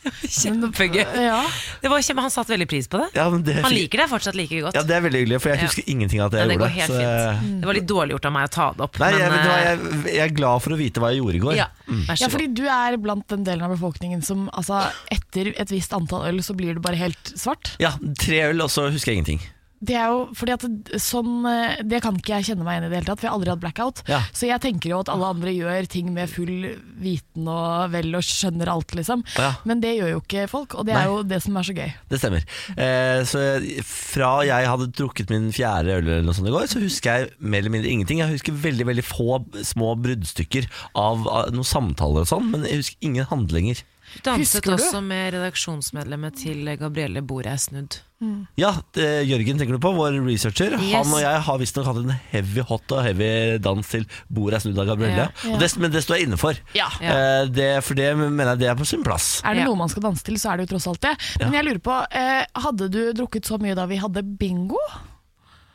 Speaker 2: Kjempegøy.
Speaker 3: [LAUGHS] Ja.
Speaker 2: [LAUGHS] Det var kjempe, han satte veldig pris på det.
Speaker 1: Ja, men det,
Speaker 2: Han liker deg fortsatt like godt.
Speaker 1: ja, det er veldig hyggelig, for jeg husker ingenting av at jeg
Speaker 2: Men det
Speaker 1: gjorde
Speaker 2: går helt
Speaker 1: så-
Speaker 3: Mm.
Speaker 2: fint. Det var litt dårlig gjort av meg å ta det opp,
Speaker 1: Nei, jeg,
Speaker 2: men
Speaker 1: vet du hva,
Speaker 2: eh,
Speaker 1: jeg, jeg er glad for å vite hva jeg Mm. gjorde i går.
Speaker 2: ja, vær
Speaker 3: Ja,
Speaker 2: så god.
Speaker 3: fordi du er blant den delen av befolkningen som altså, etter et visst antall øl så blir du bare helt svart.
Speaker 1: Ja, Tre øl, og så husker jeg ingenting.
Speaker 3: Det er jo fordi at sånn eh, Det kan ikke jeg kjenne meg igjen i det hele tatt, for jeg har aldri hatt blackout.
Speaker 1: Ja.
Speaker 3: Så jeg tenker jo at alle andre gjør ting med full viten og vel og skjønner alt, liksom.
Speaker 1: Ja.
Speaker 3: Men det gjør jo ikke folk, og det
Speaker 1: Nei.
Speaker 3: er jo det som er så gøy.
Speaker 1: Det stemmer. Eh, så jeg, fra jeg hadde drukket min fjerde øl eller noe sånt i går, så husker jeg mer eller mindre ingenting. Jeg husker veldig veldig få små bruddstykker av, av noen samtaler og sånn, men jeg husker ingen handlinger.
Speaker 2: Du danset
Speaker 3: Husker du?
Speaker 2: også med redaksjonsmedlemmet til Gabrielle Bordet er snudd.
Speaker 1: Ja, eh, Jørgen tenker du på, vår researcher.
Speaker 2: Yes.
Speaker 1: Han og jeg har visstnok hatt en heavy hot og heavy dans til bordet er snudd av Gabrielle.
Speaker 3: Ja.
Speaker 1: Og Det, men det står jeg inne for.
Speaker 3: Ja.
Speaker 1: Eh, det, for det mener jeg det er på sin plass.
Speaker 3: Er det
Speaker 2: Ja.
Speaker 3: noe man skal danse til, så er det jo tross alt det. Men jeg lurer på, eh, hadde du drukket så mye da vi hadde bingo?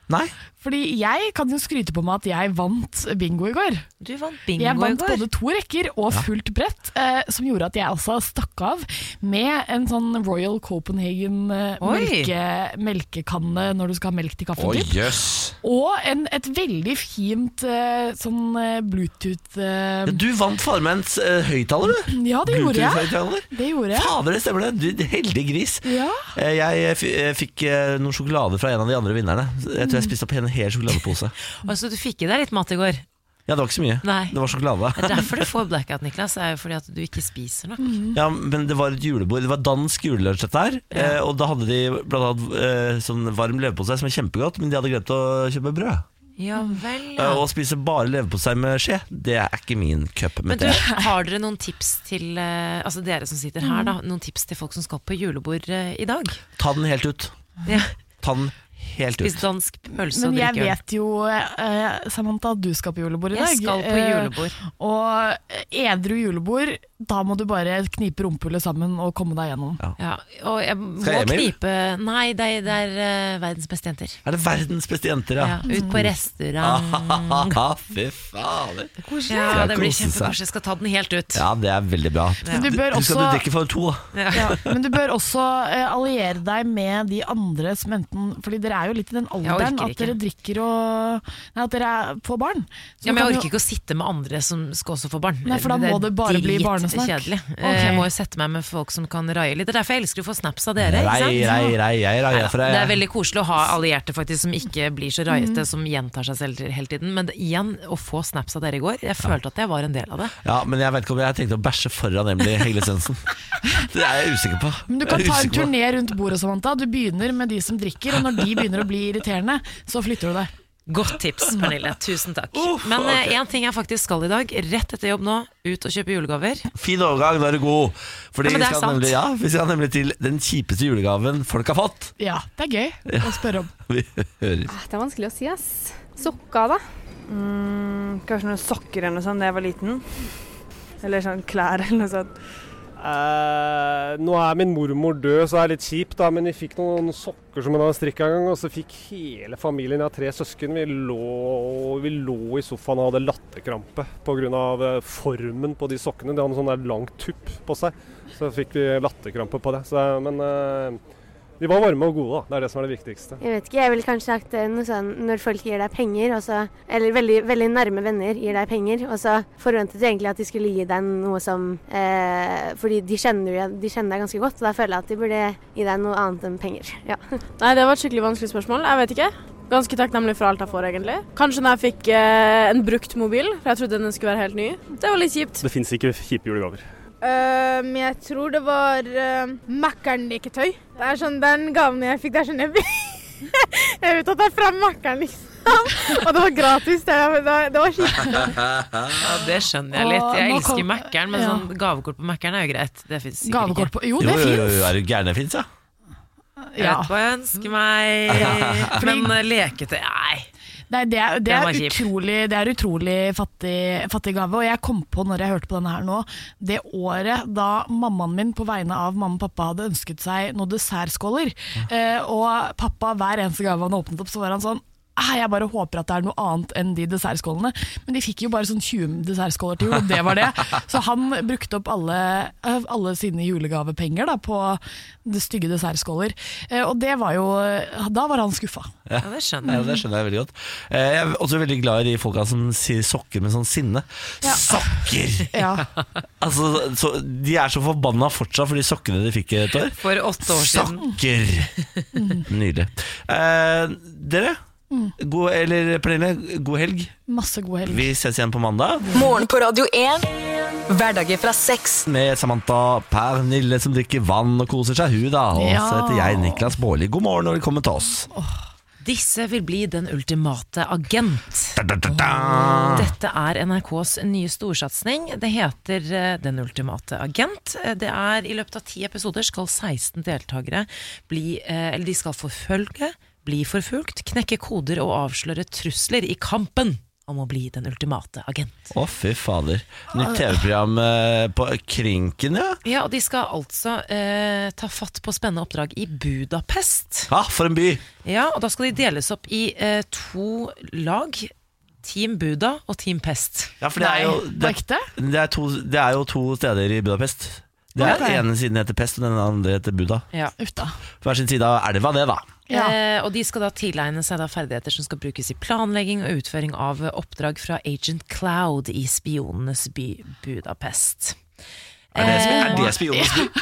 Speaker 1: Nei?
Speaker 3: Fordi jeg kan jo skryte på meg at jeg vant bingo i går.
Speaker 2: Du vant bingo
Speaker 3: Jeg vant
Speaker 2: i går.
Speaker 3: både to rekker og fullt brett, eh, som gjorde at jeg også stakk av med en sånn Royal Copenhagen eh,
Speaker 2: Oi.
Speaker 3: melke, melkekanne når du skal ha melk til kaffen.
Speaker 9: Å,
Speaker 3: typ.
Speaker 9: jøss.
Speaker 3: Og en, et veldig fint eh, sånn eh, Bluetooth eh,
Speaker 1: Ja, Du vant farmens eh, høyttaler, du.
Speaker 3: Ja, det gjorde jeg.
Speaker 1: Bluetooth-høyttaler.
Speaker 3: Det gjorde jeg.
Speaker 1: Fader, det stemmer det. Du heldig gris.
Speaker 3: Ja.
Speaker 1: Eh, Jeg f eh, fikk eh, noen sjokolade fra en av de andre vinnerne. Jeg tror jeg spiste opp en hel sjokoladepose.
Speaker 2: Og så Altså, du fikk i deg litt mat i går.
Speaker 1: Ja, det var ikke så mye.
Speaker 2: Nei.
Speaker 1: Det var sjokolade.
Speaker 2: Det er derfor du får blackout, Niklas. er jo fordi at du ikke spiser nok.
Speaker 1: Ja, men det var et julebord. Det var dansk julelunsj, dette her. Eh, Og da hadde de blant annet eh, sånn varm leverpostei som var kjempegodt, men de hadde glemt å kjøpe brød.
Speaker 2: Ja vel,
Speaker 1: Eh,
Speaker 2: ja.
Speaker 1: Og å spise bare leverpostei med skje, det er ikke min cup.
Speaker 2: Men
Speaker 1: Med
Speaker 2: du,
Speaker 1: det.
Speaker 2: har dere noen tips til eh, Altså dere som sitter her,
Speaker 3: Mm.
Speaker 2: da. Noen tips til folk som skal på julebord eh, i dag?
Speaker 1: Ta den helt ut.
Speaker 2: Ja.
Speaker 1: Ta den helt
Speaker 2: Spis
Speaker 1: ut.
Speaker 2: dansk pølse
Speaker 3: Men
Speaker 2: og
Speaker 3: jeg
Speaker 2: drikke øl.
Speaker 3: vet jo, eh, Samantha, at du skal på julebord i dag.
Speaker 2: Jeg skal på
Speaker 3: Eh,
Speaker 2: julebord.
Speaker 3: og edru julebord, da må du bare knipe rumpehullet sammen og komme deg gjennom.
Speaker 2: Ja, og
Speaker 1: Skal
Speaker 2: jeg må
Speaker 1: jeg, Emil?
Speaker 2: knipe Nei, det er, det er eh, verdens beste jenter.
Speaker 1: Er det verdens beste jenter,
Speaker 2: Ja,
Speaker 1: ja?
Speaker 2: ut
Speaker 3: Mm.
Speaker 1: [LAUGHS]
Speaker 2: på restaurant.
Speaker 1: Fy fader.
Speaker 2: Ja, det blir
Speaker 1: Kose seg.
Speaker 2: kjempekoselig. Jeg skal ta den helt ut.
Speaker 1: Ja, det er veldig bra.
Speaker 3: Men du
Speaker 1: Husk
Speaker 3: bør
Speaker 1: at
Speaker 3: også-
Speaker 1: du drikker for to, da.
Speaker 3: Ja, men du bør også eh, alliere deg med de andre som enten Fordi dere er jo litt i den alderen
Speaker 2: orker
Speaker 3: at dere drikker og Nei, at dere er- får barn. Så
Speaker 2: Ja,
Speaker 3: du
Speaker 2: men Jeg
Speaker 3: kan
Speaker 2: orker ikke å sitte med andre som skal også få barn.
Speaker 3: Nei, for da
Speaker 2: er
Speaker 3: må det bare bli barnesnakk.
Speaker 2: dritkjedelig.
Speaker 3: Ok.
Speaker 2: Eh, Jeg må jo sette meg med folk som kan raie litt. Det er derfor jeg elsker å få snaps av dere. ikke
Speaker 1: Rei,
Speaker 2: sant?
Speaker 1: rei, rei, rei, rei,
Speaker 2: Neida,
Speaker 1: for rei.
Speaker 2: Det er Mm. veldig koselig å ha allierte faktisk som ikke blir så raiete, som gjentar seg selv til- hele tiden. Men det- igjen, å få snaps av dere i går, jeg følte at jeg var en del av det.
Speaker 1: Ja, men jeg vet ikke om jeg tenkte å bæsje foran Emily
Speaker 2: [LAUGHS]
Speaker 1: Heglesensen. Det er jeg usikker på.
Speaker 3: Men du kan
Speaker 1: Jeg er
Speaker 3: ta en
Speaker 1: usikker på.
Speaker 3: turné rundt bordet, Samantha. Du begynner med de som drikker, og når de begynner å bli irriterende, så flytter du deg.
Speaker 2: Godt tips, Pernille. [LAUGHS] Tusen takk. Men én ting jeg faktisk skal i dag, rett etter jobb nå, ut og kjøpe julegaver.
Speaker 1: Fin overgang, da er du god. Fordi
Speaker 2: Ja, men det er
Speaker 1: vi, skal
Speaker 2: sant.
Speaker 1: nemlig, ja, vi skal nemlig til den kjipeste julegaven folk har fått.
Speaker 3: Ja, det er gøy å spørre om.
Speaker 1: Vi hører.
Speaker 10: Det er vanskelig å si, ass. Sokka, da? kanskje noen sokker eller noe sånt da jeg var liten. Eller sånn klær eller noe sånt.
Speaker 5: Eh, nå er min mormor død, så det er litt kjipt, da, men vi fikk noen sokker som hun hadde strikka en gang, og så fikk hele familien, jeg har tre søsken, vi lå, vi lå i sofaen og hadde latterkrampe pga. eh, formen på de sokkene. De hadde en sånn der lang tupp på seg, så fikk vi latterkrampe på det. Så, men eh, de var varme og gode, da. Det er det som er det viktigste.
Speaker 10: Jeg vet ikke, jeg ville kanskje sagt eh, noe sånn når folk gir deg penger, og så Eller veldig, veldig nærme venner gir deg penger, og så forventet du egentlig at de skulle gi deg noe som eh, Fordi de kjenner, deg- de kjenner deg ganske godt, og da føler jeg at de burde gi deg noe annet enn penger. Ja.
Speaker 7: Nei, det var et skikkelig vanskelig spørsmål. Jeg vet ikke. Ganske takknemlig for alt jeg får, egentlig. Kanskje når jeg fikk eh, en brukt mobil, for jeg trodde den skulle være helt ny. Det var litt kjipt.
Speaker 5: Det fins ikke kjipe julegaver.
Speaker 7: Eh, Men jeg tror det var Mækkern leketøy. Det er sånn den gaven jeg fikk, det er sånn jeg, [LAUGHS] vet at det er fra Mækkern, liksom. [LAUGHS] Og det var gratis. Det, var skikkelig.
Speaker 2: Ja, det skjønner jeg
Speaker 3: Og
Speaker 2: litt. Jeg
Speaker 3: nå
Speaker 2: elsker
Speaker 3: kom-
Speaker 2: Mækkern, men
Speaker 3: Ja.
Speaker 2: sånn gavekort på Mækkern er jo greit. Det finnes sikkert ikke.
Speaker 3: Gavekort på Jo,
Speaker 1: Jo,
Speaker 3: det
Speaker 1: jo, jo,
Speaker 3: fins!
Speaker 1: jo, er du gæren det fins, ja?
Speaker 2: Jeg
Speaker 3: Ja.
Speaker 2: vet hva jeg ønsker [LAUGHS] meg, men eh, lekete Nei.
Speaker 3: Nei, det er, det
Speaker 2: Den
Speaker 3: er
Speaker 2: var kjip.
Speaker 3: utrolig, det er utrolig fattig, fattig gave. Og jeg kom på, når jeg hørte på denne her nå, det året da mammaen min på vegne av mamma og pappa hadde ønsket seg noen dessertskåler. Eh, og pappa, hver eneste gave han åpnet opp, så var han sånn «Ah, jeg bare håper at det er noe annet enn de dessertskålene. Men de fikk jo bare sånn 20 dessertskåler til jul, og det var
Speaker 2: [LAUGHS]
Speaker 3: det. Så han brukte opp alle, eh, alle sine julegavepenger da, på de stygge dessertskåler. Eh, og det var jo Da var han skuffa.
Speaker 1: Ja,
Speaker 2: det skjønner
Speaker 1: jeg. Ja, det skjønner jeg veldig godt. Eh, Jeg er også veldig glad i de folka som sier sokker med sånn sinne. Sokker!
Speaker 2: [LAUGHS]
Speaker 3: Ja.
Speaker 1: Altså, så, De er så forbanna fortsatt for de sokkene de fikk et år.
Speaker 2: For åtte år siden. Mm.
Speaker 1: Sokker! Nydelig. Eh, dere, god, eller Pernille, god helg.
Speaker 3: Masse god helg.
Speaker 1: Vi ses igjen på mandag
Speaker 4: Morgen på Radio 1. Hverdager fra seks.
Speaker 1: med Samantha Pernille som drikker vann og koser seg, hun da. Og så
Speaker 2: Ja.
Speaker 1: heter jeg Niklas Baarli. God morgen og velkommen til oss.
Speaker 2: Disse vil bli den ultimate agent.
Speaker 1: Da, da, da, da.
Speaker 2: Dette er NRKs nye storsatsing. Det heter eh, Den ultimate agent. Eh, Det er I løpet av ti episoder skal 16 deltakere bli eh, Eller de skal forfølge, bli forfulgt, knekke koder og avsløre trusler i kampen om å bli den ultimate agent.
Speaker 1: Å, fy fader. Nytt TV-program eh, på Krinken, ja.
Speaker 2: Ja, og De skal altså eh, ta fatt på spennende oppdrag i Budapest.
Speaker 1: Ja, Ah, for en by!
Speaker 2: Ja, og da skal de deles opp i eh, to lag. Team Buda og Team Pest.
Speaker 1: Ja, for det er jo det, det, er to, det er jo to steder i Budapest. Det
Speaker 2: Ja,
Speaker 1: er
Speaker 2: det er.
Speaker 1: ene siden heter Pest, og den andre heter Buda.
Speaker 2: Ja.
Speaker 1: Hver sin side av elva, det, da.
Speaker 2: Eh, og de skal da tilegne seg da ferdigheter som skal brukes i planlegging og utføring av eh, oppdrag fra Agent Cloud i spionenes by Budapest.
Speaker 1: Er det,
Speaker 2: Eh,
Speaker 1: er det spionenes by?
Speaker 3: [LAUGHS]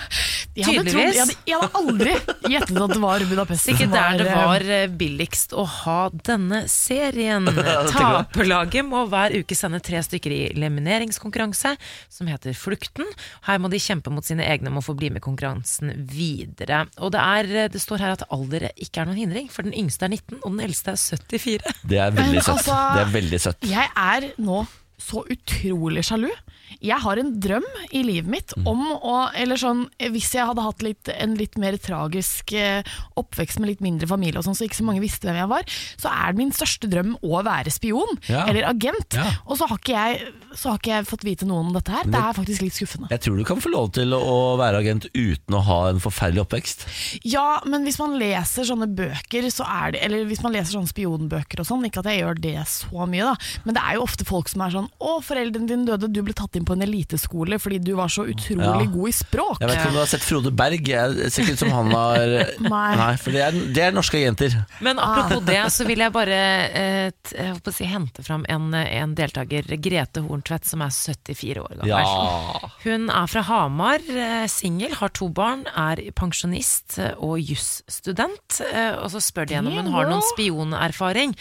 Speaker 3: Jeg hadde, trodd, jeg,
Speaker 2: Tydeligvis.
Speaker 3: hadde, jeg hadde aldri gjettet at det var Budapest.
Speaker 2: Ikke
Speaker 3: som
Speaker 2: der det
Speaker 3: eh,
Speaker 2: var eh, billigst å ha denne serien.
Speaker 3: Tenker du det?
Speaker 2: Taperlaget må hver uke sende tre stykker i elimineringskonkurranse som heter Flukten. Her må de kjempe mot sine egne om å få bli med i konkurransen videre. Og det, er, eh, det står her at alder ikke er noen hindring, for den yngste er 19, og den eldste er 74.
Speaker 1: Det er
Speaker 3: Men
Speaker 1: veldig søtt.
Speaker 3: altså-
Speaker 1: Det er veldig søtt.
Speaker 3: Jeg er nå så utrolig sjalu. Jeg har en drøm i livet mitt
Speaker 1: Mm.
Speaker 3: om å Eller sånn, hvis jeg hadde hatt litt, en litt mer tragisk eh, oppvekst med litt mindre familie og sånn, så ikke så mange visste hvem jeg var, så er min største drøm å være spion
Speaker 1: Ja.
Speaker 3: eller agent.
Speaker 1: Ja.
Speaker 3: Og så har, ikke jeg, så har ikke jeg fått vite noe om dette her.
Speaker 1: Men
Speaker 3: Det
Speaker 1: det-
Speaker 3: er faktisk litt skuffende.
Speaker 1: Jeg tror du kan få lov til å være agent uten å ha en forferdelig oppvekst.
Speaker 3: Ja, men hvis man leser sånne bøker, så er det, eller hvis man leser sånne spionbøker og sånn, ikke at jeg gjør det så mye, da, men det er jo ofte folk som er sånn Å, foreldrene dine døde, du ble tatt inn på en eliteskole fordi du var så utrolig
Speaker 1: Mm. Ja.
Speaker 3: god i språk.
Speaker 1: Jeg vet ikke om du har sett Frode Berg? Jeg er sikkert som han har
Speaker 3: [LAUGHS] Nei.
Speaker 1: for det er, det er norske agenter.
Speaker 2: Men apropos det, så vil jeg bare eh, t- jeg holdt på å si, hente fram en, eh, en deltaker, Grete Horntvedt, som er 74 år gammel.
Speaker 1: Ja.
Speaker 2: Hun er fra Hamar, eh, singel, har to barn, er pensjonist eh, og jusstudent. eh, Og så spør de henne om hun har noen spionerfaring.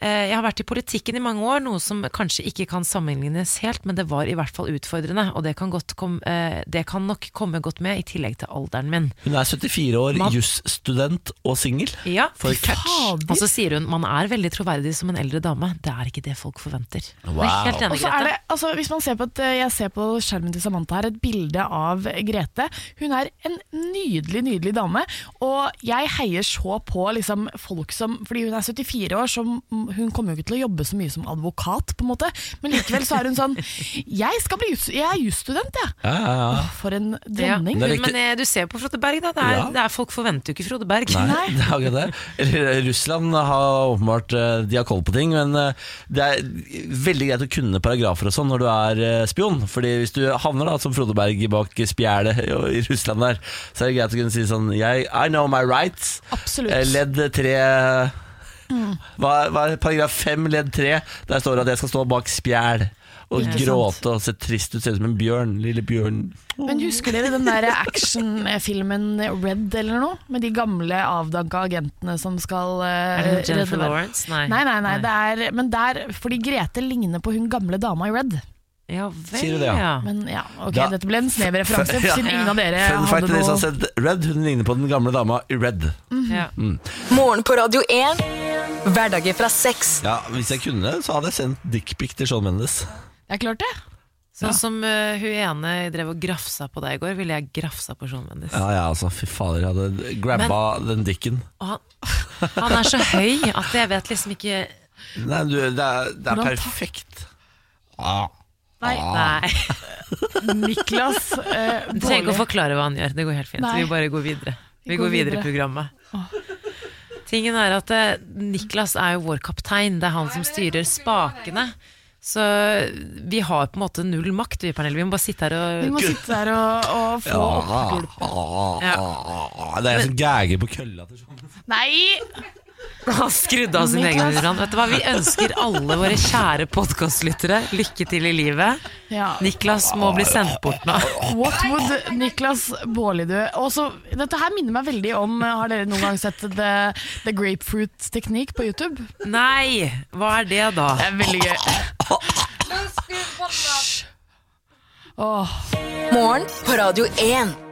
Speaker 2: Eh, Jeg har vært i politikken i mange år, noe som kanskje ikke kan sammenlignes helt, men det var i hvert fall utfordrende, og det kan, godt kom, eh, det kan nok komme godt med, i tillegg til alderen min.
Speaker 1: Hun er 74 år,
Speaker 2: Man-
Speaker 1: jusstudent og singel.
Speaker 2: Ja.
Speaker 1: For et catch. Altså,
Speaker 2: Og så sier hun man er veldig troverdig som en eldre dame. Det er ikke det folk forventer.
Speaker 1: Wow.
Speaker 2: Jeg er helt
Speaker 3: Og
Speaker 2: enig,
Speaker 3: så er det,
Speaker 2: Grete.
Speaker 3: altså, hvis man ser på et, Jeg ser på skjermen til Samantha her et bilde av Grete. Hun er en nydelig, nydelig dame. Og jeg heier så på liksom, folk som Fordi hun er 74 år, så hun kommer jo ikke til å jobbe så mye som advokat, på en måte. Men likevel så er hun sånn Jeg, skal bli jus- jeg er jusstudent, jeg.
Speaker 1: Ja, ja, ja.
Speaker 3: For en dronning.
Speaker 1: Det er
Speaker 2: Men,
Speaker 1: riktig.
Speaker 2: men eh, du ser jo på Frode Berg, da. Det er,
Speaker 1: Ja.
Speaker 2: det er, folk forventer jo ikke Frode Berg.
Speaker 1: Nei, det er akkurat det. Eller, eh, Russland har åpenbart eh, De har koll på ting, men eh, det er veldig greit å kunne paragrafer og sånn når du er eh, spion. Fordi hvis du havner da som Frode Berg bak spjælet i Russland der, så er det greit å kunne si sånn jeg, I know my rights.
Speaker 3: Absolutt.
Speaker 1: Eh, Ledd tre hva, hva er paragraf fem, ledd tre? Der står det at jeg skal stå bak spjæl og
Speaker 3: Ikke sant.
Speaker 1: gråte og se trist ut. Ser ut som en bjørn. Lille bjørn.
Speaker 3: Men husker dere den der actionfilmen Red eller noe? Med de gamle avdanka agentene som skal eh,
Speaker 2: Er det med Jennifer
Speaker 3: redde verden?
Speaker 2: Lawrence? Nei.
Speaker 3: Nei, nei, nei, det er, men der, fordi Grete ligner på hun gamle dama i Red.
Speaker 2: Ja vel,
Speaker 1: Sier du det, ja?
Speaker 3: Men ja, ok,
Speaker 1: Da-
Speaker 3: dette ble en snev referanse,
Speaker 1: Ja.
Speaker 3: siden ingen av dere
Speaker 1: Fun fact
Speaker 3: hadde
Speaker 1: til de som har
Speaker 3: noe
Speaker 1: sett Red, hun ligner på den gamle dama i Red.
Speaker 3: Mhm.
Speaker 2: Ja.
Speaker 1: Mm.
Speaker 4: Morgen på Radio 1. Hverdager fra seks.
Speaker 1: Ja, Hvis jeg kunne, så hadde jeg sendt dickpic til Shawn Mendes.
Speaker 3: Det er klart det.
Speaker 2: Sånn som eh, hun ene drev og grafsa på deg i går, ville jeg grafsa på Sean Mendes.
Speaker 1: Ja, ja, altså, fy fader, jeg hadde grabba den dikken.
Speaker 2: Og han, han er så høy at jeg vet liksom ikke
Speaker 1: Nei, du, det er, det er
Speaker 2: Hvordan
Speaker 1: perfekt. Ah.
Speaker 3: Nei.
Speaker 1: Ah.
Speaker 2: Nei.
Speaker 3: Niklas eh,
Speaker 2: Du trenger ikke å
Speaker 3: Baarli.
Speaker 2: forklare hva han gjør. Det går helt fint.
Speaker 3: Nei.
Speaker 2: Vi bare går videre.
Speaker 3: Vi
Speaker 2: Vi
Speaker 3: går
Speaker 2: går videre i
Speaker 3: videre.
Speaker 2: programmet. Tingen er at eh, Niklas er jo vår kaptein. Det er han som styrer spakene. Så vi har på en måte null makt, vi, Pernille. Vi må bare sitte her
Speaker 3: Vi
Speaker 2: [LAUGHS]
Speaker 3: må
Speaker 2: og
Speaker 3: sitte der og, og få
Speaker 1: Ja,
Speaker 3: oppgulp.
Speaker 1: ah,
Speaker 2: Ja.
Speaker 1: ah. Det er jeg som gager på kølla til sånn.
Speaker 3: Nei!
Speaker 2: Han skrudde av sin egen
Speaker 3: Niklas.
Speaker 2: rand. Vet du hva, vi ønsker alle våre kjære podkastlyttere lykke til i livet.
Speaker 3: Ja.
Speaker 2: Niklas må bli sendt bort nå.
Speaker 3: [LAUGHS] What would Niklas Baarli do? Også, dette her minner meg veldig om eh, Har dere noen gang sett The, the Grapefruit Teknikk på YouTube?
Speaker 2: Nei, hva er det da?
Speaker 3: Det er
Speaker 1: [LAUGHS]
Speaker 3: veldig gøy. Åh,
Speaker 4: Morgen på Radio 1.